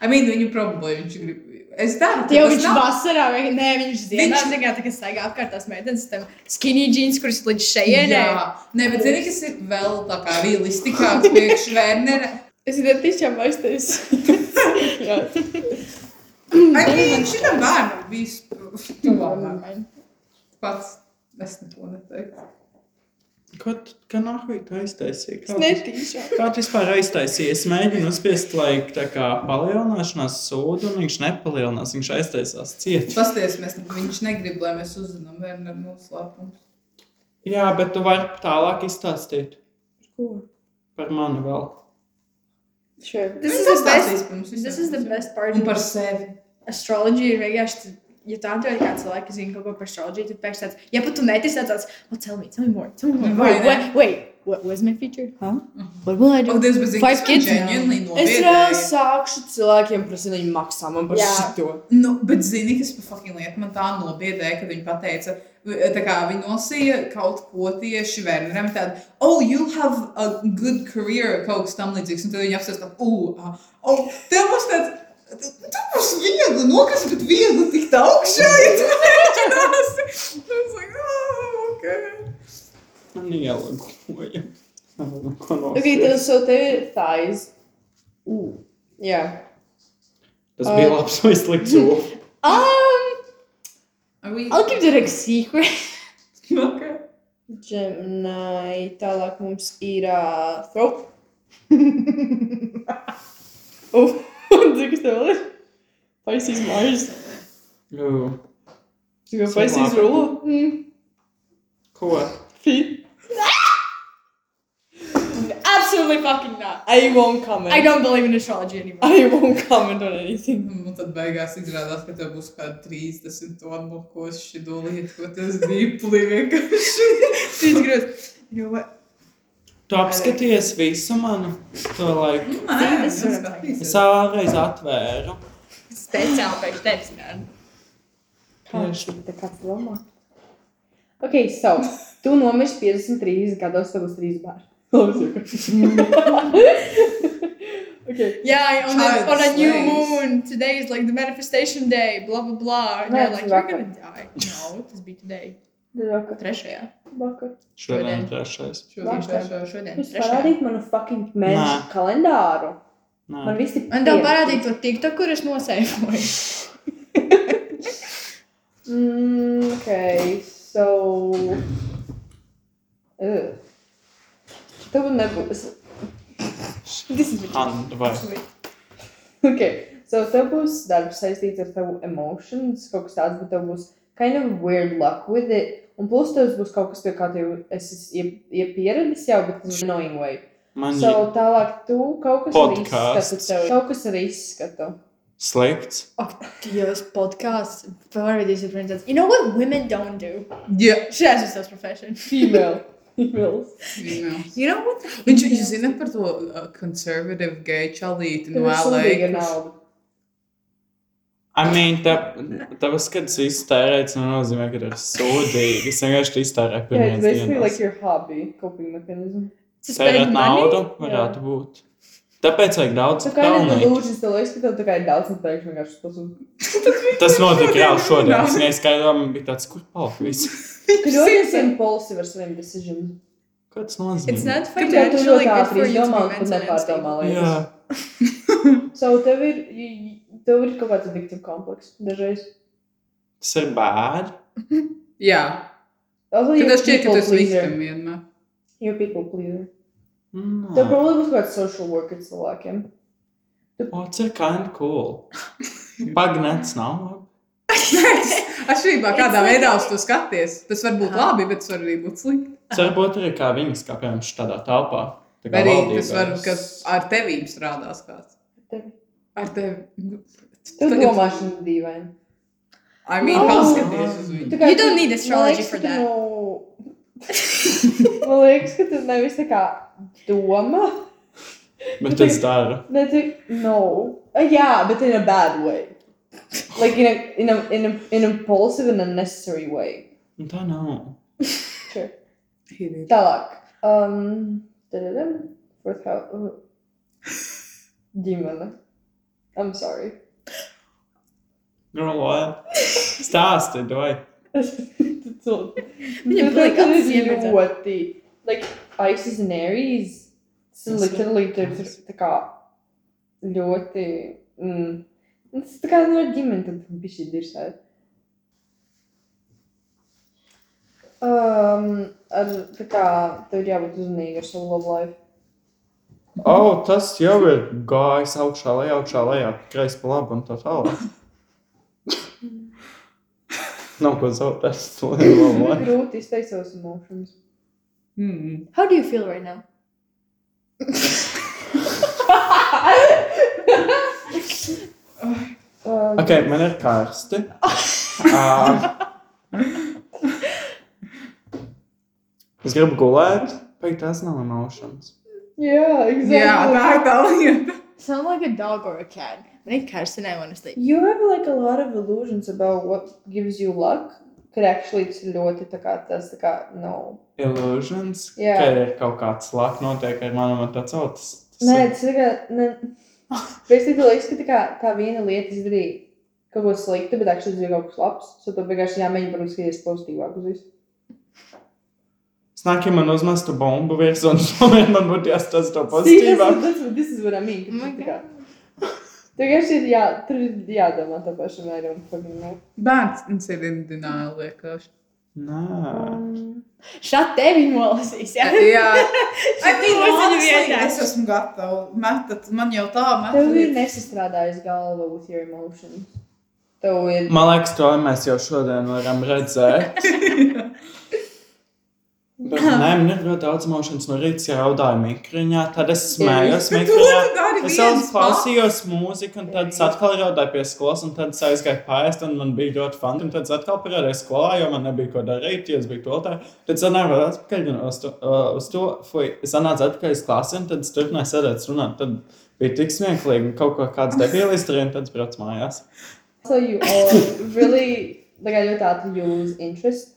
[SPEAKER 3] I mean, viņu problēma viņš grib. Es daru,
[SPEAKER 6] Tie jau
[SPEAKER 3] tas
[SPEAKER 6] viņš
[SPEAKER 3] nav-
[SPEAKER 6] vasarā, vai nē, viņš
[SPEAKER 4] Viņš
[SPEAKER 6] ziemā.
[SPEAKER 4] zina, ka staigā apkārt tās meitenes, tam skinny jeans, kuras līdz šejienai.
[SPEAKER 3] Jā, nē, bet zini, kas ir vēl tā kā realistiskāk priekš Vernera.
[SPEAKER 2] Es esmu tiešām aiztais. Jā.
[SPEAKER 3] Ai, nē, šitam bērnam bija pats. Es neko neteiktu.
[SPEAKER 1] Ko tu kā nahuj tu aiztaisīji? Kā tu-
[SPEAKER 2] Netīšām.
[SPEAKER 1] Kā tu vispār aiztaisīji? Es mēģinu uzspiest, lai tā kā palielināšanās sūdu, un viņš nepalielinās, viņš aiztaisās ciet.
[SPEAKER 3] Pasties, mēs, viņš negrib, lai mēs uzzinām Vernera noslēpumu.
[SPEAKER 1] Jā, bet tu vari tālāk izstāstīt par mani vēl.
[SPEAKER 2] Sure.
[SPEAKER 4] This
[SPEAKER 3] Viņš
[SPEAKER 4] is the
[SPEAKER 3] pastāstīs
[SPEAKER 4] best.
[SPEAKER 3] par mums
[SPEAKER 4] This
[SPEAKER 3] visiem.
[SPEAKER 4] is the best part.
[SPEAKER 3] Un par sevi.
[SPEAKER 4] astroloģija ir vienkārši. Ja tā ir kā cilvēki, kas zina kaut ko par astroloģiju, tad pēkšņi tāds, ja pat tu netici, tad tāds, oh, tell me, tell me more, tell me more.
[SPEAKER 3] Vai
[SPEAKER 4] Wait,
[SPEAKER 3] ne?
[SPEAKER 4] wait, wait, what was my future? Huh? What will I do?
[SPEAKER 3] Ak, Dievs, bet zini,
[SPEAKER 4] Five
[SPEAKER 3] kas
[SPEAKER 4] kids
[SPEAKER 3] man genuinely
[SPEAKER 2] Es
[SPEAKER 3] nobiedēja?
[SPEAKER 2] reāli sākšu cilvēkiem prasīt, lai viņi maksā man par
[SPEAKER 6] Jā.
[SPEAKER 2] šito.
[SPEAKER 3] Nu, bet zini, kas pa fucking lietu man tā nobiedēja, kad viņi pateica, v- tā kā viņi nosīja kaut ko tieši Werneram, tādu, oh, you have a good career, kaut kas tam līdzīgs, un tad viņi apsēst, tā, uh, ah, oh, tev būs tāds, tu būs viegli nokas, bet viegli tikt augšā, ja tu mēģināsi. Es like, oh, ok.
[SPEAKER 1] Man ielagoja. Es nezinu, ko
[SPEAKER 2] Ok,
[SPEAKER 1] nosaukt.
[SPEAKER 2] tad so tev ir thighs. Jā.
[SPEAKER 1] Tas bija
[SPEAKER 2] Ai.
[SPEAKER 1] labs vai slikts zūks.
[SPEAKER 6] Um,
[SPEAKER 3] Are we...
[SPEAKER 6] I'll keep it a secret.
[SPEAKER 3] Okay.
[SPEAKER 2] Gemini, tālāk mums ir uh, throat. Zinu, kas tev vēl ir? Pisces Mars.
[SPEAKER 1] Jū.
[SPEAKER 2] Jo
[SPEAKER 1] Cilvēku.
[SPEAKER 2] Pisces rule. Mm.
[SPEAKER 1] Ko?
[SPEAKER 2] Feet.
[SPEAKER 4] Absolutely fucking not.
[SPEAKER 2] I won't comment.
[SPEAKER 4] I don't believe in astrology anymore.
[SPEAKER 2] I won't comment on anything.
[SPEAKER 3] Un Nu, tad beigās izrādās, ka tev būs kaut kāda 30 tonu koši dūlīt, ko tas dīplī vienkārši.
[SPEAKER 4] It's gross. You know what?
[SPEAKER 1] Tu apskaties visu manu to laiku.
[SPEAKER 3] Nē,
[SPEAKER 4] tas
[SPEAKER 3] nu
[SPEAKER 4] ir-
[SPEAKER 1] Es
[SPEAKER 3] skatīsies.
[SPEAKER 1] ārreiz atvēru.
[SPEAKER 4] Speciāli pēc tevis, man.
[SPEAKER 2] Tieši tā kā domā. Ok, so, tu nomirsi 53 gados, tev būs 3 bērni. okay.
[SPEAKER 4] Yeah, on, the,
[SPEAKER 3] Child
[SPEAKER 4] on a new
[SPEAKER 3] slaves.
[SPEAKER 4] moon. Today is like the manifestation day. Blah blah blah. And
[SPEAKER 2] No,
[SPEAKER 4] you're
[SPEAKER 2] it's
[SPEAKER 4] like, you're
[SPEAKER 2] rocket.
[SPEAKER 4] gonna die. No, tas bija today.
[SPEAKER 2] Vakar,
[SPEAKER 4] Trešajā.
[SPEAKER 2] vakar.
[SPEAKER 1] Šodien trešais.
[SPEAKER 3] Šodien
[SPEAKER 2] Vakar.
[SPEAKER 3] trešā.
[SPEAKER 4] Šodien.
[SPEAKER 2] Jūs
[SPEAKER 4] Trešajā.
[SPEAKER 2] parādīt manu fucking
[SPEAKER 1] Nē.
[SPEAKER 2] mēnešu kalendāru. Man
[SPEAKER 1] Nē.
[SPEAKER 2] viss ir.
[SPEAKER 4] Man tev
[SPEAKER 2] pieci.
[SPEAKER 4] parādīja to TikTok, kur es nosēju.
[SPEAKER 2] Mm, okay, so. Ugh. Tev nebūs. This is ridiculous.
[SPEAKER 1] Han, vai?
[SPEAKER 2] Okay, so tev būs darbs saistīts ar tavu emotions, kaut kas tāds, bet tev būs kind of weird luck with it. Un plus tev būs kaut kas, pie kā tev esi iepieredzis jau, bet tas ir annoying way.
[SPEAKER 1] Man
[SPEAKER 2] So tālāk tu kaut kas ar
[SPEAKER 1] Podcasts.
[SPEAKER 2] izskatu tev. Kaut kas ar izskatu.
[SPEAKER 1] slikts.
[SPEAKER 4] Ak, Dievs, podcasts. Parādīsi princess. You know what women don't do?
[SPEAKER 3] Jā,
[SPEAKER 4] She has herself profession.
[SPEAKER 2] Female. Females.
[SPEAKER 3] viņa.
[SPEAKER 4] You know what? the-
[SPEAKER 3] Viņš jūs zina par to uh, konservatīvu geju čalīti no LA.
[SPEAKER 1] I mean, tā, tavs skats iztērēts nenozīmē, ka ir sūdīgi. Es vienkārši iztērēju
[SPEAKER 2] Yeah,
[SPEAKER 1] pirmajās
[SPEAKER 2] it's basically like
[SPEAKER 1] dienās.
[SPEAKER 2] your hobby coping mechanism.
[SPEAKER 4] To spend
[SPEAKER 1] Tērēt
[SPEAKER 4] money?
[SPEAKER 1] naudu varētu būt. Tāpēc vajag daudz
[SPEAKER 2] So kind of
[SPEAKER 1] pelnīt.
[SPEAKER 2] illusions, the lowest that the guy doubts and thinks we got supposed to.
[SPEAKER 1] Tas notika jau šodien. Es neskaidroju, man bija tāds, kur palika viss.
[SPEAKER 2] Could you always impulsive or slim decision?
[SPEAKER 1] Ko tas
[SPEAKER 4] It's
[SPEAKER 1] nozīmē?
[SPEAKER 4] not
[SPEAKER 2] Could you do
[SPEAKER 4] financially
[SPEAKER 2] that
[SPEAKER 4] good for
[SPEAKER 2] for
[SPEAKER 4] you to
[SPEAKER 2] your
[SPEAKER 4] be
[SPEAKER 2] mom and
[SPEAKER 4] mentally unstable.
[SPEAKER 1] Jā,
[SPEAKER 2] nepārdomā. So tev ir, y- y- tev ir kaut kāds victim kompleks dažreiz.
[SPEAKER 1] tas ir bērns.
[SPEAKER 3] Jā,
[SPEAKER 2] Also,
[SPEAKER 3] tad
[SPEAKER 2] you're
[SPEAKER 3] es šķiet, ka
[SPEAKER 2] people
[SPEAKER 3] tas
[SPEAKER 2] pleaser.
[SPEAKER 3] viktam vienmēr.
[SPEAKER 2] You're people pleaser.
[SPEAKER 4] Oh.
[SPEAKER 2] Tev
[SPEAKER 1] Mm.
[SPEAKER 2] probably būs kaut kāds social worker cilvēkiem.
[SPEAKER 1] What's a kind of cool? Pagnets nav labi.
[SPEAKER 3] Atšķirībā kādā veidā uz to skaties, tas var būt
[SPEAKER 4] Aha.
[SPEAKER 3] labi, bet tas var arī būt slikti.
[SPEAKER 1] Tas varbūt arī kā viņas, kā piemēram, šādā telpā. Tā kā
[SPEAKER 3] Vai arī
[SPEAKER 1] valdībā.
[SPEAKER 3] tas var, ka ar tevīm strādās kāds.
[SPEAKER 2] Tevi.
[SPEAKER 3] Ar tevi.
[SPEAKER 2] Tev
[SPEAKER 3] Tagad-
[SPEAKER 2] domāšana Oh. dīvaina.
[SPEAKER 3] I mean,
[SPEAKER 2] No.
[SPEAKER 3] paskaties uz viņu.
[SPEAKER 2] Tā kā
[SPEAKER 4] You
[SPEAKER 2] tu-
[SPEAKER 4] don't need astrology
[SPEAKER 2] man liekas,
[SPEAKER 4] for
[SPEAKER 2] ka tu
[SPEAKER 4] that.
[SPEAKER 2] nav- Man liekas, ka tas nevis tā kā doma.
[SPEAKER 1] Bet es daru.
[SPEAKER 2] Ne, tu, no. Uh, yeah, but in a bad way. Like in a in a in a in an impulsive and unnecessary way.
[SPEAKER 1] Un Tā nav.
[SPEAKER 2] Tālāk. Um, da-da-dam. Fourth house. uh, Ģimene. I'm sorry.
[SPEAKER 1] Girl, what? Stāsti, vai?
[SPEAKER 4] Viņam
[SPEAKER 2] Viņam
[SPEAKER 4] palika
[SPEAKER 2] tas ir
[SPEAKER 4] sieviete.
[SPEAKER 2] ļoti. Like Isis and Aries. Tas ir
[SPEAKER 1] Tas ir-
[SPEAKER 2] literally tur tur tā kā ļoti. Mm, tas tā kā no ģimenes tad bija šī dirsēta. Um, ar, tā kā tev ir jābūt uzmanīgam ar savu labu laiku.
[SPEAKER 1] O, oh, tas jau ir gājis augšā, lejā, augšā, lejā, kreis pa labi un tā tālāk. Nav ko zaudēt. to ir labi,
[SPEAKER 2] Man ir
[SPEAKER 1] labi.
[SPEAKER 2] grūti izteikt savas emocijas.
[SPEAKER 3] Hmm.
[SPEAKER 4] How do you feel right now?
[SPEAKER 2] Um,
[SPEAKER 1] Ok, man ir karsti. Um, es gribu gulēt, bet tas nav emotions.
[SPEAKER 2] Jā,
[SPEAKER 3] Jā,
[SPEAKER 2] exactly.
[SPEAKER 3] tā ir tā lieta.
[SPEAKER 4] Sound like a dog or a cat. I think Karsten, I want to sleep.
[SPEAKER 2] You have like a lot of illusions about what gives you luck, but actually it's ļoti tā kā tas tā kā no.
[SPEAKER 1] Illusions,
[SPEAKER 2] Jā.
[SPEAKER 1] ka ir kaut kāds laka notiek ar manu man tāds autis.
[SPEAKER 2] Nē, tas ir kā, ne, basically liekas, ka tā, kā, tā viena lieta izdarīja kaut ko sliktu, bet actually izdarīja kaut kas labs, so tu vienkārši jāmēģina, protams, skaties pozitīvāk uz visu.
[SPEAKER 1] Snāk, ja man uzmestu bombu virs un tomēr man būtu jāstāsta to
[SPEAKER 2] See, that's
[SPEAKER 1] pozitīvāk.
[SPEAKER 2] what- that's what- This is what I mean. ka
[SPEAKER 4] Oh my
[SPEAKER 2] tu tā kā- Tu vienkārši ir jā, tur ir jādomā tā pašam, I don't fucking know.
[SPEAKER 3] Bērns ir indināli vienkārši.
[SPEAKER 1] Nē.
[SPEAKER 4] Shut tevi nolasīs, jā.
[SPEAKER 3] Jā,
[SPEAKER 4] Šī
[SPEAKER 3] I mean,
[SPEAKER 4] nolasīja
[SPEAKER 3] honestly,
[SPEAKER 4] vietā.
[SPEAKER 3] es es esmu gatava. Metat, man jau tā,
[SPEAKER 2] Tev ir
[SPEAKER 3] metat.
[SPEAKER 2] nesastrādājis galva with your emotions. Tev ir.
[SPEAKER 1] Man liekas, to mēs jau šodien varam redzēt. Bet, nē, man ir ļoti daudz emošanas. No rīta jau raudāju mikriņā, tad es smējos
[SPEAKER 3] Bet to tu
[SPEAKER 1] mikriņā.
[SPEAKER 3] dari
[SPEAKER 1] Es jau
[SPEAKER 3] viens pats.
[SPEAKER 1] klausījos mūziku, un tad es atkal raudāju pie skolas, un tad es aizgāju pāriest, un man bija ļoti fanti. Un tad es atkal parādīju skolā, jo man nebija ko darīt, ja es biju toltā. Tad es nāku atpakaļ un uz to, uh, uz to fuj, es nācu atpakaļ uz klasi, un tad es turpināju sēdēt runāt. Tad bija tik smieklīgi, un kaut ko kāds debīlis darīja, un tad es braucu mājās.
[SPEAKER 2] So you all really like I ļoti ātri use interest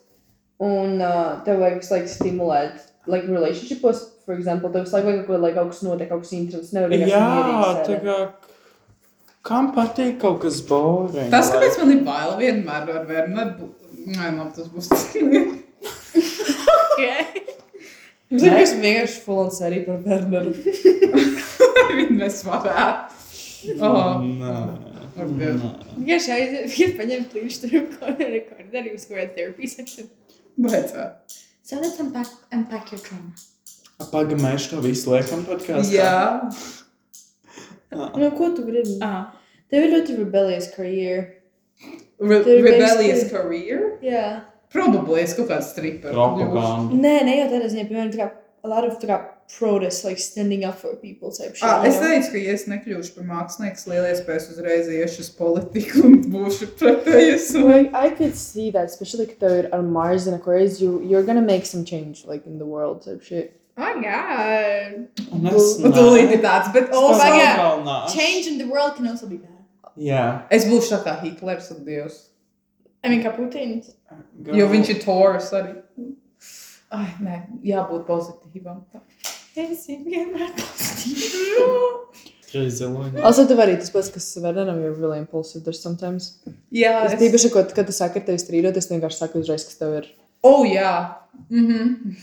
[SPEAKER 2] un uh, tev vajag visu laiku stimulēt like relationshipos, for example, tev visu laiku vajag kaut ko, lai kaut kas notiek, kaut kas interesants, nevar vienkārši
[SPEAKER 1] Jā,
[SPEAKER 2] mierīgi
[SPEAKER 1] tā
[SPEAKER 2] sēdēt.
[SPEAKER 1] kā. Kam patīk kaut kas boring?
[SPEAKER 3] Tas,
[SPEAKER 1] Lai-
[SPEAKER 3] kāpēc man ir bail vienmēr ar Vernu, nē, labi, tas būs tas.
[SPEAKER 2] Mums ir kas vienkārši full on sērija par Werneru.
[SPEAKER 3] Viņu mēs varētu. Oh.
[SPEAKER 1] Nē.
[SPEAKER 3] varbūt.
[SPEAKER 1] Nē.
[SPEAKER 4] Vienkārši aiziet, vienkārši paņem klīņšķi rekorderi, uzkojiet therapy session.
[SPEAKER 3] Bet, uh,
[SPEAKER 5] So let's unpack, unpack your trauma.
[SPEAKER 1] Pagamējuši to visu laikam podkāstu.
[SPEAKER 3] jā,
[SPEAKER 2] Nu, ko tu gribi?
[SPEAKER 4] Aha.
[SPEAKER 2] Tev ir ļoti rebellious career.
[SPEAKER 3] Re
[SPEAKER 2] Tur ir
[SPEAKER 3] rebellious
[SPEAKER 2] visi-
[SPEAKER 3] career.
[SPEAKER 2] Jā.
[SPEAKER 3] Probably es kaut kāds stripper.
[SPEAKER 1] Propaganda.
[SPEAKER 2] Nē, ne jau tādā ziņā, piemēram, tā kā a lot of tā kā protest, like standing up for people type shit.
[SPEAKER 3] Ah,
[SPEAKER 2] you
[SPEAKER 3] es
[SPEAKER 2] know?
[SPEAKER 3] teicu, ka ja es nekļūšu par mākslinieku, lielais pēc uzreiz iešu uz politiku un būšu pretējais.
[SPEAKER 2] Like, I could see that, especially if they're on Mars and Aquarius, you you're gonna make some change, like in the world type shit.
[SPEAKER 4] Oh, God.
[SPEAKER 1] Un es
[SPEAKER 3] Un tūlīt ir tāds, bet oh,
[SPEAKER 4] Stop.
[SPEAKER 3] man,
[SPEAKER 4] Change in the world can also be bad.
[SPEAKER 1] Jā.
[SPEAKER 3] es būšu tā kā Hitlers un Dievs.
[SPEAKER 4] I mean, kā Putins.
[SPEAKER 3] Jo viņš ir Taurus arī. Ai, nē, jābūt pozitīvam.
[SPEAKER 4] Es esmu vienmēr pozitīvs.
[SPEAKER 1] Kriziloņa.
[SPEAKER 2] Also, tev arī tas pats, kas Verdenam, you're really impulsive there sometimes.
[SPEAKER 3] Jā,
[SPEAKER 2] Es tīpaši, ko, kad tu saki, ka tev strīdot, es vienkārši saku uzreiz, kas tev ir.
[SPEAKER 3] Oh, jā. Mhm.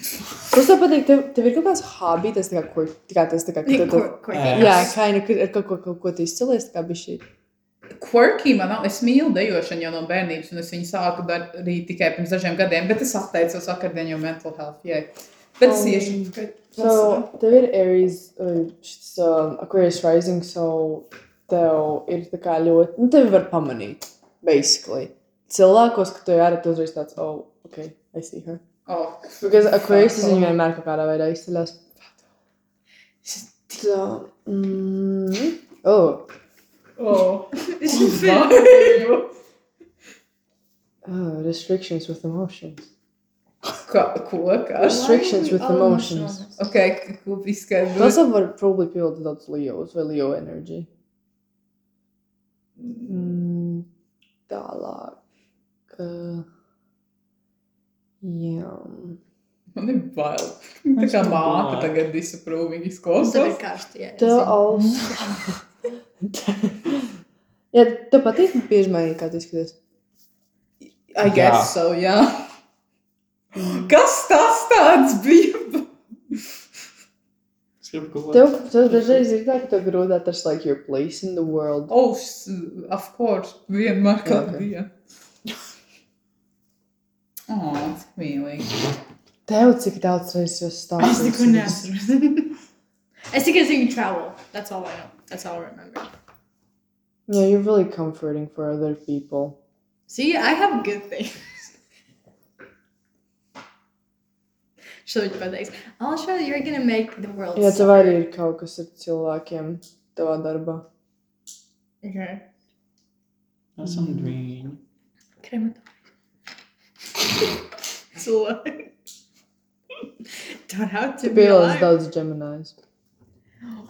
[SPEAKER 2] Plus, tev patīk, tev, tev ir kaut kāds hobby, tas tā kā, kur, tā kā tas tā kā, ka tu...
[SPEAKER 1] Ē.
[SPEAKER 4] Ko?
[SPEAKER 2] Jā, kā ir kaut ko, kaut ko tu izcelies, tā kā bišķi.
[SPEAKER 3] Quirky man nav. Es mīlu dejošanu jau no bērnības, un es viņu sāku darīt tikai pirms dažiem gadiem, bet es atteicos vakardien jau mental health. Jai. Bet es
[SPEAKER 2] Um,
[SPEAKER 3] iešu. tikai
[SPEAKER 2] So, tev ir Aries, uh, šis um, Aquarius rising, so tev ir tā kā ļoti, nu, tevi var pamanīt, basically. Cilvēkos, ka tu jādara, tu uzreiz tāds, oh, ok, I see her.
[SPEAKER 3] Oh.
[SPEAKER 2] Because Aquarius
[SPEAKER 3] Fuck.
[SPEAKER 2] viņi vienmēr kaut kādā veidā izceļas. So, mm, oh,
[SPEAKER 3] Oh.
[SPEAKER 2] oh, restrictions with emotions.
[SPEAKER 3] Kā, ko? Kas?
[SPEAKER 2] Restrictions with emotions.
[SPEAKER 3] Ok, ko
[SPEAKER 2] Tas
[SPEAKER 3] izskaidrot?
[SPEAKER 2] jau var probably pildīt daudz Leos vai Leo energy. Mm, tālāk. Uh, jā.
[SPEAKER 3] Man ir bail. Tā kā māte tagad disapproving
[SPEAKER 4] Tev ir
[SPEAKER 3] izklausās.
[SPEAKER 4] karsti, jā. es
[SPEAKER 2] Tev
[SPEAKER 4] zinu.
[SPEAKER 2] also. Jā, tev patīk bieži mainīt, kā tu izskaties.
[SPEAKER 3] I guess so, jā. Kas tas tāds bija?
[SPEAKER 1] Es gribu kaut ko.
[SPEAKER 2] Tev, tev dažreiz ir tā, ka tev grūti atrast, like, your place in the world.
[SPEAKER 3] Oh, s- of course, vienmēr kad
[SPEAKER 2] Ok.
[SPEAKER 3] bija. Oh, cik mīlīgi.
[SPEAKER 2] Tev cik daudz reizes jau stāstīju.
[SPEAKER 4] Es neko neatceros. Es tikai zinu travel. That's all I know. That's all I remember.
[SPEAKER 2] Yeah, you're really comforting for other people.
[SPEAKER 4] See, I have good things. Šo viņš pateiks. Alša, you're gonna make the world
[SPEAKER 2] Jā, tev
[SPEAKER 4] suffer.
[SPEAKER 2] arī ir kaut kas ar cilvēkiem tavā darbā.
[SPEAKER 4] Okay.
[SPEAKER 1] Esam dvīņi.
[SPEAKER 4] Krematorijas. Cilvēki. Don't have to be
[SPEAKER 2] Pielās
[SPEAKER 4] alive.
[SPEAKER 2] daudz Gemini's.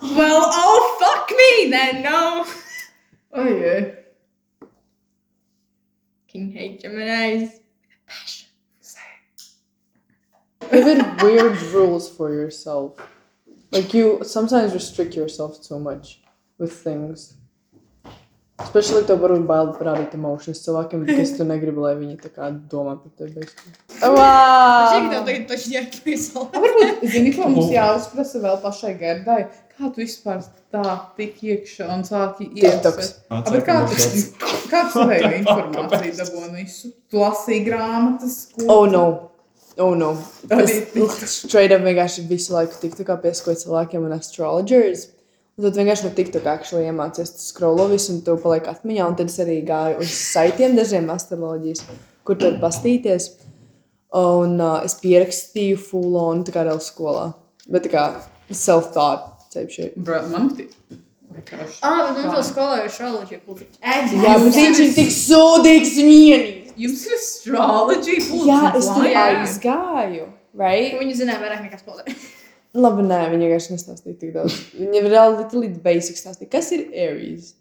[SPEAKER 4] Well, oh, fuck me then, no.
[SPEAKER 3] Ojej.
[SPEAKER 4] King hate Geminis. Passion.
[SPEAKER 2] Give it weird rules for yourself. Like you sometimes restrict yourself too much with things. Especially tev varbūt bail parādīt emotions cilvēkiem, kas tu negribi, lai viņi tā kā domā par tevi.
[SPEAKER 3] Ah, Um,
[SPEAKER 4] Šī
[SPEAKER 2] Wow!
[SPEAKER 4] tev tagad taču jāatpaisala.
[SPEAKER 3] Varbūt, zini, ko mums jāuzprasa vēl pašai Gerdai. Kā tu vispār tā tik iekšā un sāki
[SPEAKER 2] TikToks.
[SPEAKER 3] iet? Bet kā tu, kā tu vēji informāciju dabū un visu? Tu lasīji grāmatas? ko
[SPEAKER 2] Oh
[SPEAKER 3] tu-
[SPEAKER 2] no! Oh, no. Es straight up vienkārši visu laiku TikTokā pieskoju cilvēkiem un astrologers. Un tad vienkārši no TikTokā actually iemācies to scrollo visu un to paliek atmiņā. Un tad es arī gāju uz saitiem dažiem astroloģijas, kur tad bastīties. Un uh, es pierakstīju full on tā kā reāli skolā. Bet tā kā self-taught type shit.
[SPEAKER 3] Bro, man patīk. Vienkārši.
[SPEAKER 4] Ah, bet mums vēl skolā ir astroloģija publika.
[SPEAKER 2] Jā, bet viņš ir tik sūdīgs vienīgi.
[SPEAKER 3] Jums ir astroloģija, būtu
[SPEAKER 2] Jā, es tur
[SPEAKER 4] jā.
[SPEAKER 2] aizgāju. Right?
[SPEAKER 4] Viņi zināja vairāk nekā skolā.
[SPEAKER 2] Labi, nē, viņa vienkārši nestāstīja tik daudz. Viņa reāli literally basic stāstīja, kas ir Aries.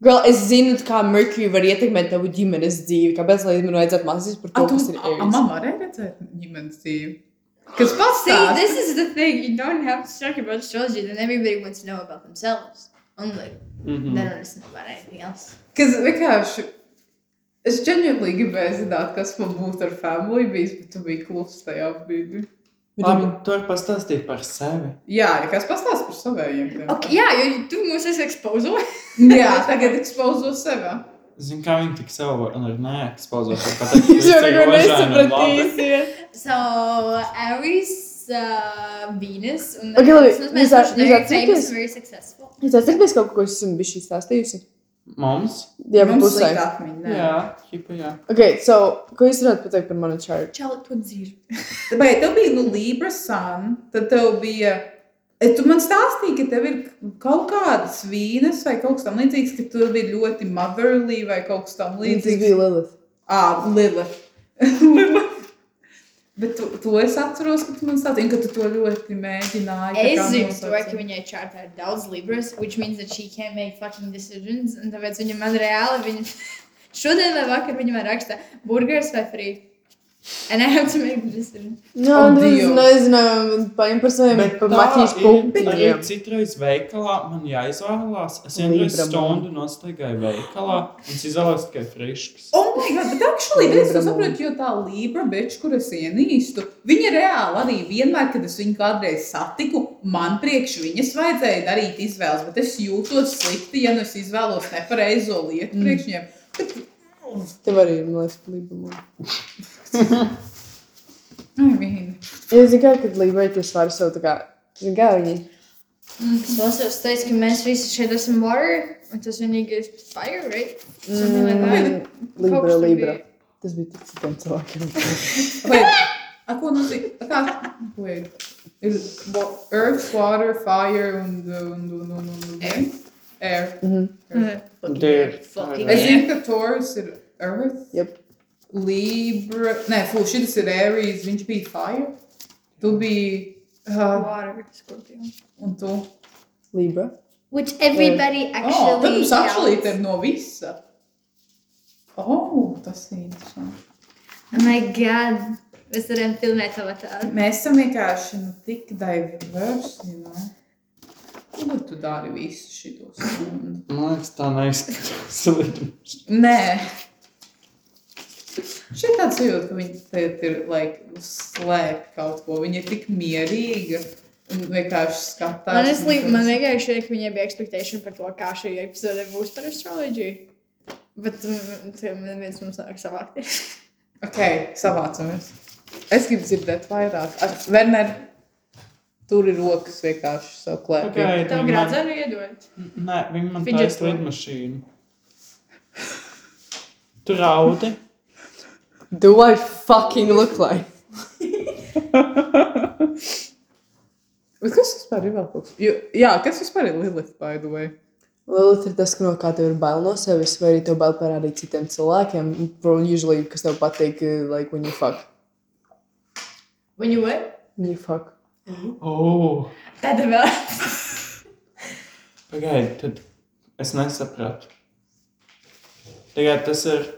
[SPEAKER 2] Girl, es zinu, kā Merkurija var ietekmēt tavu ģimenes dzīvi. Kāpēc lai man vajadzētu mācīties par to, kas ir
[SPEAKER 3] A,
[SPEAKER 2] Aries?
[SPEAKER 3] man arī redzēt ģimenes dzīvi. Kas
[SPEAKER 4] See,
[SPEAKER 3] pastāv?
[SPEAKER 4] this is the thing. You don't have to talk about astrology, then everybody wants to know about themselves. I'm like,
[SPEAKER 1] Mhm.
[SPEAKER 4] they don't listen about anything else.
[SPEAKER 3] Kas vienkārši. Es ģenētiski gribēju zināt, kas man būtu ar family bijis, bet tu biji klusa tajā brīdī.
[SPEAKER 1] Labi, tu vari pastāstīt par sevi.
[SPEAKER 3] Jā, ja kas pastāsta par saviem? tiem.
[SPEAKER 4] Okay, jā, jo tu mūs esi ekspozo.
[SPEAKER 3] Jā, tagad ekspozo sevi.
[SPEAKER 1] Zini, kā viņi tik sev var- un ar neekspozot.
[SPEAKER 2] Jūs jau neko nesapratīsiet.
[SPEAKER 4] So, Aries, uh, Venus, and
[SPEAKER 2] Okay, labi,
[SPEAKER 4] Venus
[SPEAKER 2] jūs at- jūs
[SPEAKER 4] very
[SPEAKER 2] atceraties?
[SPEAKER 4] famous, very successful.
[SPEAKER 2] Es atceros kaut ko, ko es esmu bijusi stāstījusi.
[SPEAKER 1] Mums?
[SPEAKER 2] Jā, bet
[SPEAKER 3] Mums
[SPEAKER 2] pusē.
[SPEAKER 3] ir atmiņa. nē.
[SPEAKER 1] Jā, hipa, jā.
[SPEAKER 2] Ok, so, ko jūs varētu pateikt par manu čārtu?
[SPEAKER 4] Čau, tu dzīvi.
[SPEAKER 3] Bet tev bija nu Libra sun, tad tev bija. Es- Tu man stāstīji, ka tev ir kaut kādas vīnas vai kaut kas tam līdzīgs, ka tu biji ļoti motherly vai kaut kas tam
[SPEAKER 2] Tas
[SPEAKER 3] līdzīgs.
[SPEAKER 2] bija Lilith.
[SPEAKER 3] Ah, Lila. Lila. Bet tu, to es atceros, ka tu man stāstīji, un ka tu to ļoti mēģināji. tā kā
[SPEAKER 4] Es zinu,
[SPEAKER 3] nosaukt.
[SPEAKER 4] to, ka viņai čārtā ir daudz Libras, which means that she can't make fucking decisions, un tāpēc viņa man reāli, viņa šodien vai vakar viņa man raksta burgers vai free. And I have to make the decision.
[SPEAKER 2] Jā,
[SPEAKER 3] Oh,
[SPEAKER 2] un tad nu, es
[SPEAKER 3] Dievs.
[SPEAKER 2] nezinu, paņem par saviem,
[SPEAKER 1] Bet
[SPEAKER 2] par
[SPEAKER 1] tā
[SPEAKER 2] Matijas
[SPEAKER 1] ir, arī
[SPEAKER 2] pulpiņiem.
[SPEAKER 1] Citreiz veikalā man jāizvēlās. Es vienreiz
[SPEAKER 2] Libra man.
[SPEAKER 1] stundu nostaigāju veikalā un es izvēlos tikai friškas.
[SPEAKER 3] Oh my God, bet actually,
[SPEAKER 2] Libra
[SPEAKER 3] es to
[SPEAKER 2] mums.
[SPEAKER 3] saprotu, jo tā Libra beča, kur es ienīstu, viņa reāli arī vienmēr, kad es viņu kādreiz satiku, man priekš viņas vajadzēja darīt izvēles, bet es jūtos slikti, ja nu es izvēlos nepareizo lietu mm. priekš viņiem. Bet,
[SPEAKER 2] Tev arī, man liekas, plīvumā.
[SPEAKER 3] I mean,
[SPEAKER 2] Jā, zinu, kā, kad Libra tie svari sev tā kā, zinu, kā viņi. Mm-hmm.
[SPEAKER 4] Es lasīju, teicu, ka mēs visi šeit esam water, un tas vienīgais ir fire, right? Something like that.
[SPEAKER 2] Mm, Libra,
[SPEAKER 4] Kaut kas tur
[SPEAKER 2] Libra.
[SPEAKER 4] bija.
[SPEAKER 2] Tas bija tik citiem cilvēkiem.
[SPEAKER 3] wait, a, ko nozīmē? a Kā? Wait. Ir wa- earth, water, fire un. un, un, un, un, un
[SPEAKER 4] Air.
[SPEAKER 3] Air.
[SPEAKER 2] Mm-hmm.
[SPEAKER 1] Dear.
[SPEAKER 4] Fucking
[SPEAKER 3] Es
[SPEAKER 1] Air.
[SPEAKER 3] zinu, ka Taurus ir Earth.
[SPEAKER 2] Yep.
[SPEAKER 3] Libra. Nē, fū, šis ir Aries. Viņš bija Fire. Tu biji. Uh, Oh,
[SPEAKER 4] water, Scorpio.
[SPEAKER 3] un tu.
[SPEAKER 2] Libra.
[SPEAKER 5] Which
[SPEAKER 3] Oh,
[SPEAKER 5] everybody
[SPEAKER 3] tad
[SPEAKER 5] actually.
[SPEAKER 3] mums actually te
[SPEAKER 5] doubts.
[SPEAKER 3] ir no visa. Oh, tas ir interesanti.
[SPEAKER 4] Oh my god. Mēs varam filmēt avatāru.
[SPEAKER 3] Mēs esam vienkārši nu, tik diversi. You know? Ko nu tu dari visu šito stundu?
[SPEAKER 1] Man liekas, tā neizskatās līdzi.
[SPEAKER 3] Nē. Šī tāds jūtas, ka viņi tagad ir like, slēpti kaut ko. Viņa ir tik mierīga un vienkārši skatās.
[SPEAKER 4] Honestly,
[SPEAKER 3] Un-
[SPEAKER 4] man vienkārši šķiet, ka viņai bija expectation par to, kā šī epizode būs par astroloģiju. Bet mm, tie neviens mums nav savākties.
[SPEAKER 3] Ok, savācamies. Es gribu dzirdēt vairāk. Ar- Werner, tur ir rokas vienkārši savu klēpī.
[SPEAKER 1] Pagaidiet,
[SPEAKER 4] Tev
[SPEAKER 1] viņi man-
[SPEAKER 4] grādzenu iedod.
[SPEAKER 1] Nē, viņi man
[SPEAKER 4] Fidget
[SPEAKER 1] tādas
[SPEAKER 4] toy.
[SPEAKER 1] lidmašīnu. Tu raudi.
[SPEAKER 2] Do I fucking look like?
[SPEAKER 3] Bet kas vispār ir vēl kaut kas? Jo, jā, kas vispār ir Lilith, by the way?
[SPEAKER 2] Lilith ir tas, ka no kā tev ir bail no sevis, vai arī tev bail parādīt citiem cilvēkiem. Pro- Usually, kas tev patīk, eh, like, when you fuck.
[SPEAKER 4] When you what?
[SPEAKER 2] When you fuck.
[SPEAKER 1] Oh,
[SPEAKER 4] Tad vēl.
[SPEAKER 1] pagaidiet, tad es nesapratu. Tagad tas ir.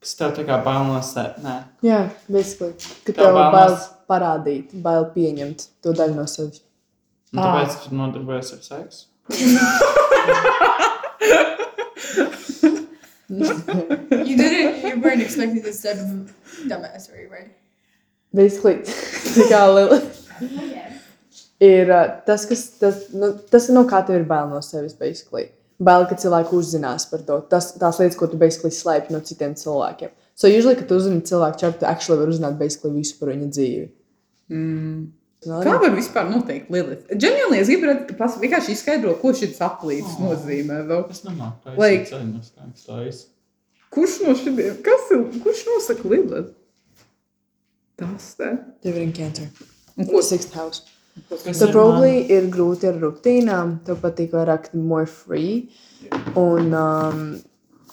[SPEAKER 1] Kas tev tā kā bailās? Nē,
[SPEAKER 2] Jā, basically. Ka
[SPEAKER 1] Tev
[SPEAKER 2] tev bail
[SPEAKER 1] bailās.
[SPEAKER 2] parādīt, bail pieņemt to daļu no sevis.
[SPEAKER 1] Un tāpēc tu nodarbojies ar seksu.
[SPEAKER 4] You didn't, you weren't expecting this type of dumbass, right?
[SPEAKER 2] Basically, tā kā Lilith ir uh, tas, kas, tas, nu, tas no kā tev ir bail no sevis, basically. Bail, ka cilvēki uzzinās par to, tas, tās lietas, ko tu basically slēpj no citiem cilvēkiem. So usually, kad tu uzzini cilvēku čārtu, tu actually var uzzināt basically visu par viņa dzīvi.
[SPEAKER 3] Mm.
[SPEAKER 2] Vēl
[SPEAKER 3] Kā
[SPEAKER 2] arī-
[SPEAKER 3] var vispār noteikt Lilith? Ģenēlī, es gribu redzēt, ka pas- vienkārši izskaidro, ko šis aplīts
[SPEAKER 1] Oh.
[SPEAKER 3] nozīmē. Vēl.
[SPEAKER 1] Es nemāku to
[SPEAKER 3] Like-
[SPEAKER 1] izdarīt.
[SPEAKER 3] Kurš no šiem, kas ir, kurš nosaka Lilith? Tas te.
[SPEAKER 2] Tev ir cancer.
[SPEAKER 3] Un ko
[SPEAKER 2] Ko sixth house?
[SPEAKER 1] Kas
[SPEAKER 2] Tev
[SPEAKER 1] ir
[SPEAKER 2] probably ir grūti ar rutīnām, tev patīk vairāk more free. Un um,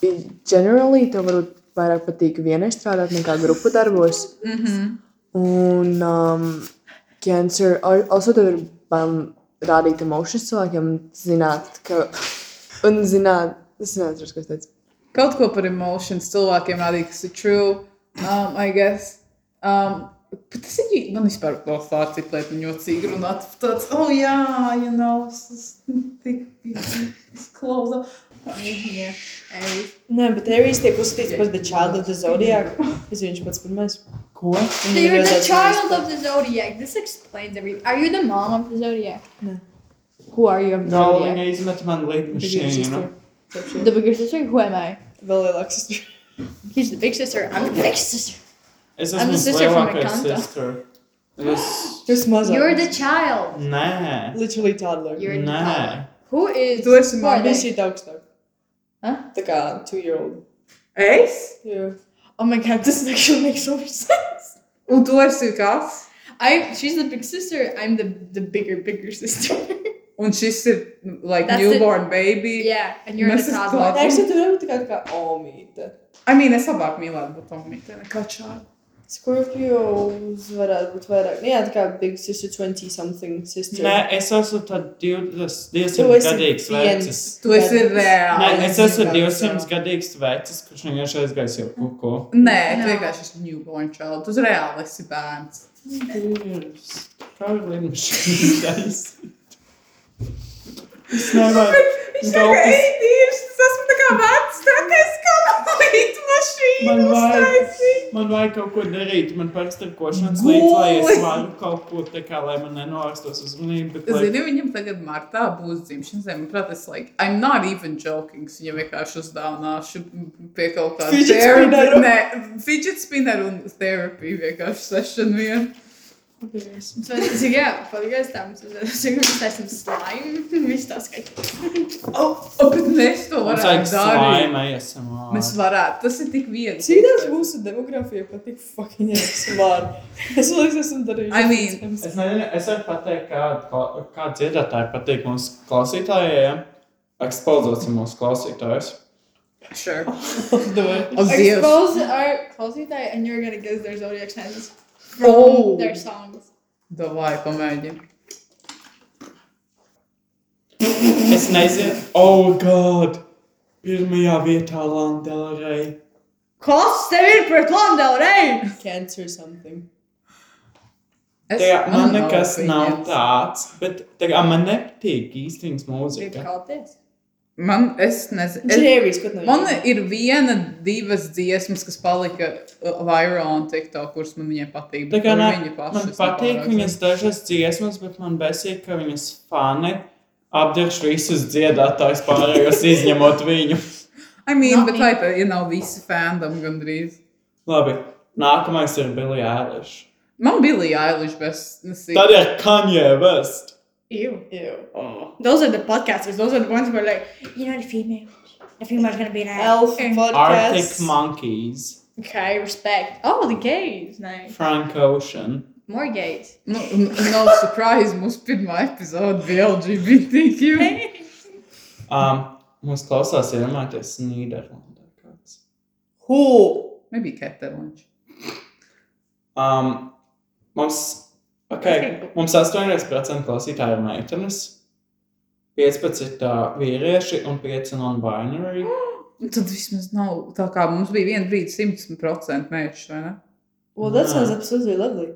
[SPEAKER 2] i- generally tev varbūt vairāk patīk vienai strādāt nekā grupu darbos.
[SPEAKER 3] Mm -hmm.
[SPEAKER 7] Mhm.
[SPEAKER 2] Un um, cancer, al- also tev ir bail rādīt emotions cilvēkiem, zināt, ka, un zināt, es neatceros, kas teica.
[SPEAKER 3] Kaut ko par emotions cilvēkiem rādīja, kas ir true, um, I guess. Um, bet tas ir, ģi- man vispār no sārciklēt un jocīgi runāt. Tāds, oh jā, you know, es- es tik, es klauzu.
[SPEAKER 4] Yeah. Aries.
[SPEAKER 7] Nē, bet Aries tiek uzskatīts par The Child of the Zodiac. Es viņš pats pirmais.
[SPEAKER 1] Ko?
[SPEAKER 4] So you're the child of the zodiac. This explains everything. Are you the mom of the zodiac?
[SPEAKER 2] No.
[SPEAKER 4] Who are you of the
[SPEAKER 1] No,
[SPEAKER 4] zodiac?
[SPEAKER 1] viņa izmet man lidmašīnu.
[SPEAKER 4] The bigger sister? Who am I?
[SPEAKER 7] Vēl lielāks sister.
[SPEAKER 4] He's the big sister. I'm the big sister.
[SPEAKER 1] Es
[SPEAKER 4] I'm
[SPEAKER 1] esmu
[SPEAKER 4] the sister from
[SPEAKER 1] lielākais
[SPEAKER 4] Encanto.
[SPEAKER 1] sister. Es...
[SPEAKER 7] Tu esi mazāk.
[SPEAKER 5] You're the child.
[SPEAKER 1] Nē.
[SPEAKER 7] Literally toddler.
[SPEAKER 5] You're the
[SPEAKER 1] Nē.
[SPEAKER 5] child.
[SPEAKER 4] Who is?
[SPEAKER 3] Tu esi
[SPEAKER 4] who are
[SPEAKER 3] mom.
[SPEAKER 7] Viņa
[SPEAKER 4] they?
[SPEAKER 7] šī augstāk.
[SPEAKER 4] Huh?
[SPEAKER 7] Tā kā two year old.
[SPEAKER 3] Es?
[SPEAKER 7] Jā.
[SPEAKER 4] Oh my god, this actually makes so much sense.
[SPEAKER 3] Un tu esi kas?
[SPEAKER 4] I she's the big sister. I'm the the bigger bigger sister.
[SPEAKER 3] Un šis ir, like,
[SPEAKER 4] That's
[SPEAKER 3] newborn baby.
[SPEAKER 4] yeah, and you're
[SPEAKER 3] This
[SPEAKER 4] the
[SPEAKER 3] is
[SPEAKER 4] toddler.
[SPEAKER 7] Nē, es tev jau tā kā, kā omīte.
[SPEAKER 3] I mean, es labāk mīlētu būt omīte nekā čārli.
[SPEAKER 7] Scorpios varētu būt vairāk. Nu Jā, tā kā big sister 20 something sister.
[SPEAKER 1] Nē, es esmu tad 200
[SPEAKER 7] Tu esi
[SPEAKER 1] gadīgs
[SPEAKER 7] viens
[SPEAKER 1] vecis.
[SPEAKER 3] Tu esi
[SPEAKER 7] gadus.
[SPEAKER 1] Nē,
[SPEAKER 3] reāli.
[SPEAKER 1] es esmu
[SPEAKER 3] newborn
[SPEAKER 1] 200
[SPEAKER 3] child.
[SPEAKER 1] gadīgs vecis, kurš vienkārši aizgājis jau kuku.
[SPEAKER 3] Nē, tu
[SPEAKER 4] No.
[SPEAKER 3] vienkārši esi newborn child. Tu reāli esi bērns.
[SPEAKER 1] Kā ir lidmašīna? Es nevaru.
[SPEAKER 3] Viņš
[SPEAKER 1] Daudz
[SPEAKER 3] ir
[SPEAKER 1] kas-
[SPEAKER 3] īrs, tas esmu tā kā vecs, tad es kalpoju mašīnu.
[SPEAKER 1] Man vajag, man vajag kaut ko darīt. Man parasti ir košanas līdzi, lai es
[SPEAKER 3] Guli.
[SPEAKER 1] varu kaut ko tā kā, lai man nenorstos uzmanību. Bet, lai...
[SPEAKER 3] Zini, viņam tagad martā būs dzimšanas diena. Manuprāt, es like, I'm not even joking. Viņam vienkārši uzdāvināšu pie kaut kāda
[SPEAKER 7] Fidget
[SPEAKER 3] therapy-
[SPEAKER 7] spinneru.
[SPEAKER 3] Nē, fidget spinner un terapija vienkārši sešana vien.
[SPEAKER 4] So, so yeah, palīgais tam. So, so you're just some slime. Viņš tas kā.
[SPEAKER 3] Oh, oh, bet mēs to
[SPEAKER 1] Mums
[SPEAKER 3] varētu
[SPEAKER 1] vajag
[SPEAKER 3] darīt.
[SPEAKER 1] slāņa, esam.
[SPEAKER 3] Mēs varētu, tas ir tik viens.
[SPEAKER 7] Cik daudz mūsu demogrāfija patīk fucking smart. Es vēl es esmu darījis.
[SPEAKER 3] I mean,
[SPEAKER 1] Es nezinu, es varu pateikt, kā, kā dziedātāji patīk mūsu klausītājiem. Ekspozīcija mūsu klausītājus.
[SPEAKER 3] Sure.
[SPEAKER 7] Dod.
[SPEAKER 3] Oh, Dievs.
[SPEAKER 4] Expose our closetai and you're gonna guess their zodiac signs from
[SPEAKER 3] Oh.
[SPEAKER 4] their songs.
[SPEAKER 3] Davai, pamēģini.
[SPEAKER 1] Es nezinu, oh, God! Pirmajā vietā Landārai.
[SPEAKER 4] Kas tev ir pret Landau Rei?
[SPEAKER 7] Cancer something.
[SPEAKER 3] Es-
[SPEAKER 1] Tajā man
[SPEAKER 3] man nav
[SPEAKER 1] nekas nav
[SPEAKER 3] opinions.
[SPEAKER 1] tāds, bet tajā man nepatīk īstenības mūzika.
[SPEAKER 4] Kalties.
[SPEAKER 3] Man, es nezinu. Es-
[SPEAKER 7] Jerry's, bet nav.
[SPEAKER 3] Man ir viena, divas dziesmas, kas palika vairāk TikTok, kuras man viņai patīk.
[SPEAKER 1] Tā
[SPEAKER 3] bet
[SPEAKER 1] kā
[SPEAKER 3] par
[SPEAKER 1] nā-
[SPEAKER 3] viņu pašu
[SPEAKER 1] ah, Man
[SPEAKER 3] es
[SPEAKER 1] patīk
[SPEAKER 3] nepārāk
[SPEAKER 1] viņas dažas dziesmas, bet man besīk, ka viņas fani apdirž visus dziedātājus pārējos, izņemot viņu.
[SPEAKER 3] zinu. I mean,
[SPEAKER 4] Not
[SPEAKER 3] bet
[SPEAKER 4] me.
[SPEAKER 3] vai tā, ja nav visi fandom gandrīz?
[SPEAKER 1] Labi, nākamais ir Billy Eilish.
[SPEAKER 3] Man bija Eilish best.
[SPEAKER 1] Tad ir Kanye West.
[SPEAKER 4] Ew.
[SPEAKER 7] Ew.
[SPEAKER 1] Oh.
[SPEAKER 4] Those are the podcasters. Those are the ones who are like,
[SPEAKER 5] You know the female. The female's gonna be like.
[SPEAKER 7] Elf
[SPEAKER 4] Okay.
[SPEAKER 1] Arctic
[SPEAKER 7] podcast.
[SPEAKER 1] Monkeys,
[SPEAKER 4] "Eh, okay, respect. Oh, the gays. Nice.
[SPEAKER 1] Frank Ocean.
[SPEAKER 4] More gays.
[SPEAKER 3] Nu, n- nav surprise, mūsu pirmā epizode bija LGBTQ.
[SPEAKER 1] Um, mums klausās iedomāties Nīderlandē kāds.
[SPEAKER 7] Who?
[SPEAKER 3] Nebija Ketelunčs.
[SPEAKER 1] Um, mums, okay, mums 80% klausītāji ir meitenes, 15 uh, vīrieši un 5 non-binary.
[SPEAKER 3] Tad vismaz nav tā kā mums bija viena brīdi 100% mērķis, vai ne?
[SPEAKER 7] Well, that
[SPEAKER 1] Nah.
[SPEAKER 7] sounds absolutely lovely.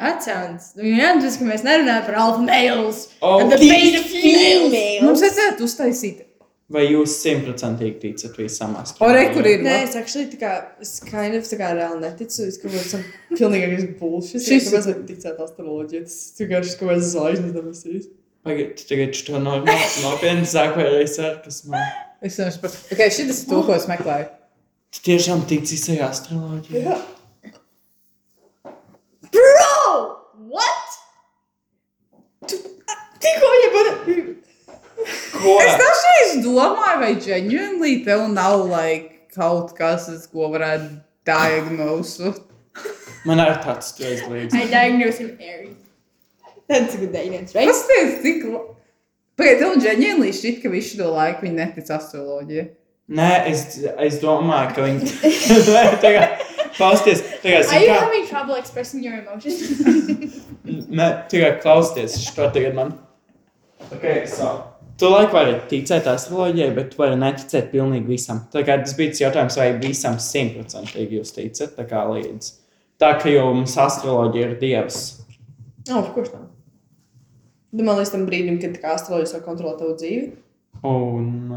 [SPEAKER 4] That sounds. Jā, tas, ka mēs nerunājam par alfa males.
[SPEAKER 1] Oh,
[SPEAKER 4] And the beta females.
[SPEAKER 3] Mums vajadzētu uztaisīt.
[SPEAKER 1] vai jūs simtprocentīgi ticat visam astrologam?
[SPEAKER 3] Ore, kur ir?
[SPEAKER 7] Nē, es actually tā kā, es kind of tā kā reāli neticu, es kaut kāds pilnīgākais bullshit.
[SPEAKER 3] Šis
[SPEAKER 7] Es kaut kāds vajag ticēt astroloģiju, tas vienkārši kaut kāds zvaigznes debesīs.
[SPEAKER 1] Pagaidiet, tagad šo normālu nopietnu sāku vēlreiz ar, kas man.
[SPEAKER 3] Es nesaprotu. Okay, šis ir tas, ko es meklēju.
[SPEAKER 1] Tu tiešām tici tajā astroloģijā?
[SPEAKER 4] Bro! What? Tu tikko jau biji.
[SPEAKER 1] Ko?
[SPEAKER 3] Es dažreiz domāju, vai ģenēnīgi tev nav like, kaut kas, uz ko varētu diagnosēt.
[SPEAKER 1] Man ir tāds stilīgs līdzi.
[SPEAKER 4] I diagnosed him Aries.
[SPEAKER 6] That's a good diagnosis, right?
[SPEAKER 3] Kas tas tik? la- Pagaid, tev ģenēnīgi šķiet, ka visu šo laiku viņi netic astroloģijai.
[SPEAKER 1] Nē, es, es domāju, ka viņi. Nē, tagad, Klausieties, tagad,
[SPEAKER 4] Are
[SPEAKER 1] zini
[SPEAKER 4] you
[SPEAKER 1] kā,
[SPEAKER 4] having trouble expressing your emotions?
[SPEAKER 1] nē, tagad klausieties, ko tagad man. Okay, so. Tu laikam vari ticēt astroloģijai, bet tu vari neticēt pilnīgi visam. Tā kā tas bija tas jautājums, vai visam simtprocentīgi jūs ticat, tā kā līdz. Tā kā jau mums astroloģija ir dievs.
[SPEAKER 7] Nav, no, kurš nav. Domāju, līdz tam brīdim, kad tā kā astroloģija sāk kontrolēt tavu dzīvi.
[SPEAKER 1] Un.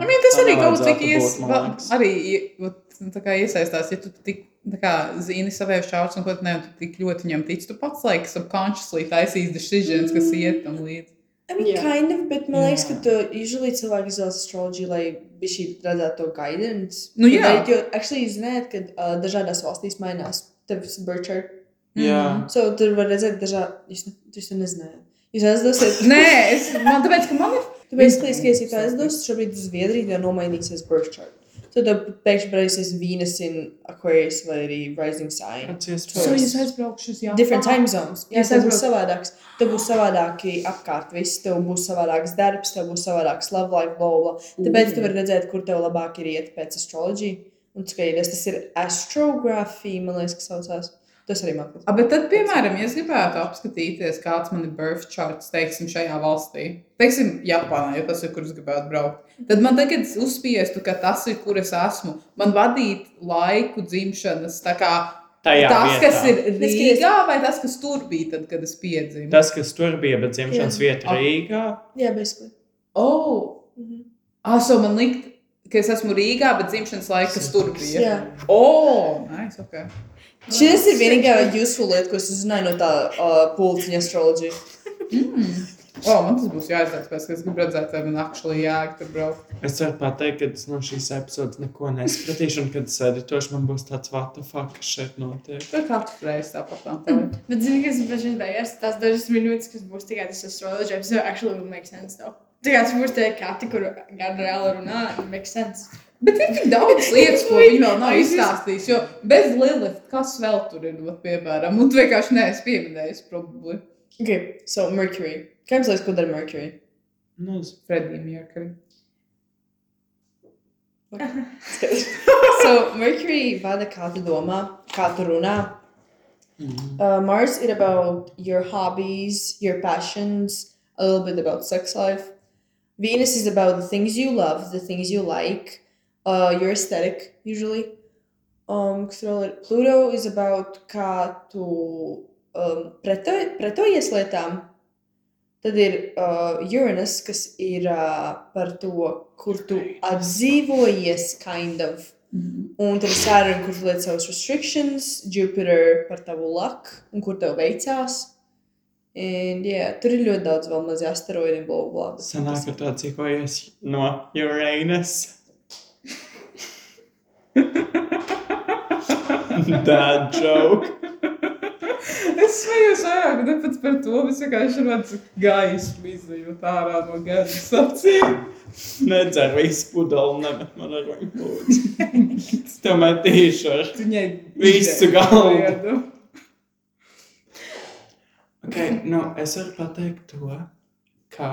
[SPEAKER 3] I mean, tas arī kaut cik ies, va- arī ie- vot, nu, tā kā iesaistās. Ja tu tik tā kā, zini savai šāds, un ko tu nevienu tik ļoti viņam tic, tu pats like, subconsciously taisīs decisions, kas iet tam līdzi.
[SPEAKER 7] I mean,
[SPEAKER 6] Jā.
[SPEAKER 7] yeah. kind of, bet man
[SPEAKER 1] Jā.
[SPEAKER 7] liekas, ka tu usually cilvēki izvēlas astroloģiju, lai šī redzētu to guidance.
[SPEAKER 3] Nu jā.
[SPEAKER 7] Bet, jo, actually, zināt, ka uh, dažādās valstīs mainās tevs birth chart.
[SPEAKER 1] Jā.
[SPEAKER 7] So, tur var redzēt dažādi, jūs, ne- jūs to nezinājāt. Jūs aizdosiet,
[SPEAKER 3] Nē, es, man tāpēc, ka man ir.
[SPEAKER 7] tu basically skiesi, ka aizdos, šobrīd uz Zviedriju tev nomainīsies birth chart. So, tev pēkšņi parādīsies Venus in Aquarius vai arī Rising
[SPEAKER 3] Mm.
[SPEAKER 7] sign.
[SPEAKER 1] Kāds ies
[SPEAKER 7] So
[SPEAKER 1] pēc?
[SPEAKER 3] aizbraukšu uz Japānu.
[SPEAKER 7] Different time zones. Jā,
[SPEAKER 3] Es
[SPEAKER 7] tas būs
[SPEAKER 3] saprotu.
[SPEAKER 7] savādāks. Tev būs savādākie apkārt, viss tev būs savādāks darbs, tev būs savādāks love life, blah, blah. blah. Tāpēc tu vari redzēt, kur tev labāk ir iet pēc astroloģijas. Un skaties, tas ir astrogrāfija, man liekas, kas saucās. Tas arī mākslinieks.
[SPEAKER 3] A, bet tad, piemēram, ja es gribētu apskatīties, kāds man ir birth charts, teiksim, šajā valstī, teiksim, Japānā, ja tas ir, kur es gribētu braukt, tad man tagad uzspiestu, ka tas ir, kur es esmu. Man vadīt laiku dzimšanas, tā kā
[SPEAKER 1] Tajā
[SPEAKER 3] tas,
[SPEAKER 1] vietā.
[SPEAKER 3] kas ir
[SPEAKER 7] Neskaties.
[SPEAKER 3] Rīgā, vai tas, kas tur bija, tad, kad es piedzimu?
[SPEAKER 1] Tas, kas tur bija, bet dzimšanas vieta
[SPEAKER 3] Ak.
[SPEAKER 1] Rīgā.
[SPEAKER 7] Jā, basically.
[SPEAKER 3] Oh,
[SPEAKER 7] Mhm.
[SPEAKER 3] aso man likt, ka es esmu Rīgā, bet dzimšanas laika, kas tur bija.
[SPEAKER 7] Jā.
[SPEAKER 3] Oh, nice, ok.
[SPEAKER 7] Šis ir vienīgā useful lieta, ko es uzzināju no tā uh, pulciņa astroloģija.
[SPEAKER 3] Oh, man tas būs jāizdara, tāpēc, ka es gribu redzēt, vai man akšlī jāg tur braukt.
[SPEAKER 1] Es ceru pateikt, ka es no šīs epizodes neko nesapratīšu, un kad es editošu, man būs tāds vatafāk, kas šeit notiek.
[SPEAKER 3] Tur katru reizi tāpat tā.
[SPEAKER 7] Mhm.
[SPEAKER 4] Bet zini, kas pašais beigās, tās dažas minūtes, kas būs tikai tas astrology episode, actually will make sense, though. Tikai tas būs tie kāti, kur gada reāli runā, it makes sense.
[SPEAKER 3] Bet ir tik daudz lietas, ko viņi vēl nav
[SPEAKER 4] Ai, es-
[SPEAKER 3] izstāstījuši. Jo bez Lilith, kas vēl tur ir, nu, vat, piemēram, un tu vienkārši neesi pieminējis, probably
[SPEAKER 7] Okay, so Mercury. Kā jums liekas, ko dara Mercury?
[SPEAKER 1] Nu, es-
[SPEAKER 3] Freddie Mercury.
[SPEAKER 7] So Mercury vada kā tu domā, kā tu runā,
[SPEAKER 1] mm.
[SPEAKER 7] Uh, Mars is about your hobbies, your passions, a little bit about sex life. Venus is about the things you love, the things you like, uh, your aesthetic usually. Um, kas vēl ir? Pluto is about kā tu um, preto- pretojies lietām. Tad ir uh, Uranus, kas ir uh, par to, kur tu apdzīvojies, kind of.
[SPEAKER 3] Mm-hmm.
[SPEAKER 7] Un tad ir Saturn, kurš liek savus restrictions, Jupiter par tavu laku, un kur tev veicās. And, yeah, tur ir ļoti daudz vēl mazie asteroīdi, blah, blah. blah.
[SPEAKER 1] Sanāk, ka tāds ikojies no Uranus. Dad joke.
[SPEAKER 3] Es smējos vairāk, bet pēc par to es vienkārši redzu gaismu izjūt ārā no gaisa sacīm.
[SPEAKER 1] Nedzer visu pudeli, nemet man ar viņu lūdzu. Es tev metīšu ar
[SPEAKER 3] Tu ņem
[SPEAKER 1] Visu
[SPEAKER 3] ideju
[SPEAKER 1] galvu.
[SPEAKER 3] lietu.
[SPEAKER 1] Ok, nu, es varu pateikt to, ka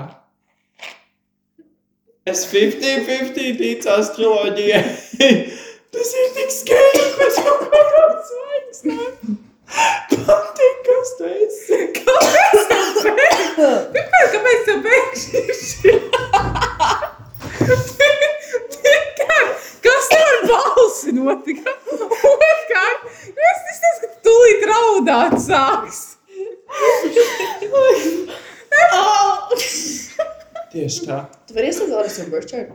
[SPEAKER 1] es 50-50 ticu astroloģijai. Tas ir tik skaisti, ka es jau kādā zvaigznē. Patīk, kas tu esi.
[SPEAKER 3] Kā- Kāpēc tu pēkšņi šī? Pirmkārt, Kas tev ar balsi notika? Otrkārt, es izskatās, ka tu tūlīt raudāt sāks.
[SPEAKER 1] Tieši tā.
[SPEAKER 7] Tu vari ieslēgt vēl ar savu birth chart?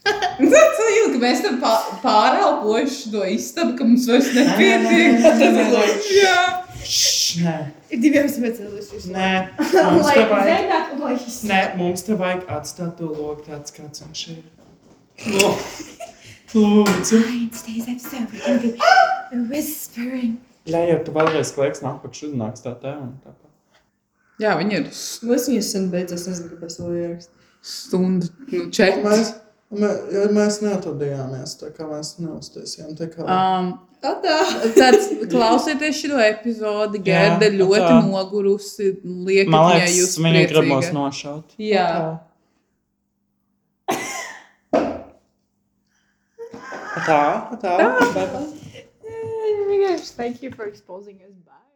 [SPEAKER 3] Tas ir ilgi, ka mēs tam pā- pārelpojuši no istaba, ka mums vairs nepietiek. Tas ir loģiski. Jā.
[SPEAKER 1] Šš, nē,
[SPEAKER 4] Diviem speciālistiem.
[SPEAKER 1] nē. Mums te vajag,
[SPEAKER 4] that voice.
[SPEAKER 1] Oh. nē, mums te vajag atstāt to logu tāds, kāds viņš ir.
[SPEAKER 4] Science Days episode, we're gonna be whispering.
[SPEAKER 1] Jā, jau tu vēlreiz kliks nāk pat uznāks tā tā un tā.
[SPEAKER 3] Jā, viņi ir s-
[SPEAKER 7] Nu, es viņu sen beidzu, es nezinu, kāpēc to ierakstu.
[SPEAKER 3] stundu, nu, četras.
[SPEAKER 8] Mēs, mē, jo mēs neatradījāmies, tā kā mēs neuztaisījām. Tā kā
[SPEAKER 3] Um,
[SPEAKER 7] Atā!
[SPEAKER 3] Tāds, klausieties šo epizodi,
[SPEAKER 1] Jā,
[SPEAKER 3] Gerda ļoti
[SPEAKER 1] tā.
[SPEAKER 3] nogurusi. Liekas,
[SPEAKER 1] Man
[SPEAKER 3] viņai
[SPEAKER 1] liekas,
[SPEAKER 3] jūs
[SPEAKER 1] viņi grib mūs
[SPEAKER 3] priecīga.
[SPEAKER 1] nošaut.
[SPEAKER 3] Jā,
[SPEAKER 1] Tā, tā. tā.
[SPEAKER 2] Thank you for exposing us. Bye.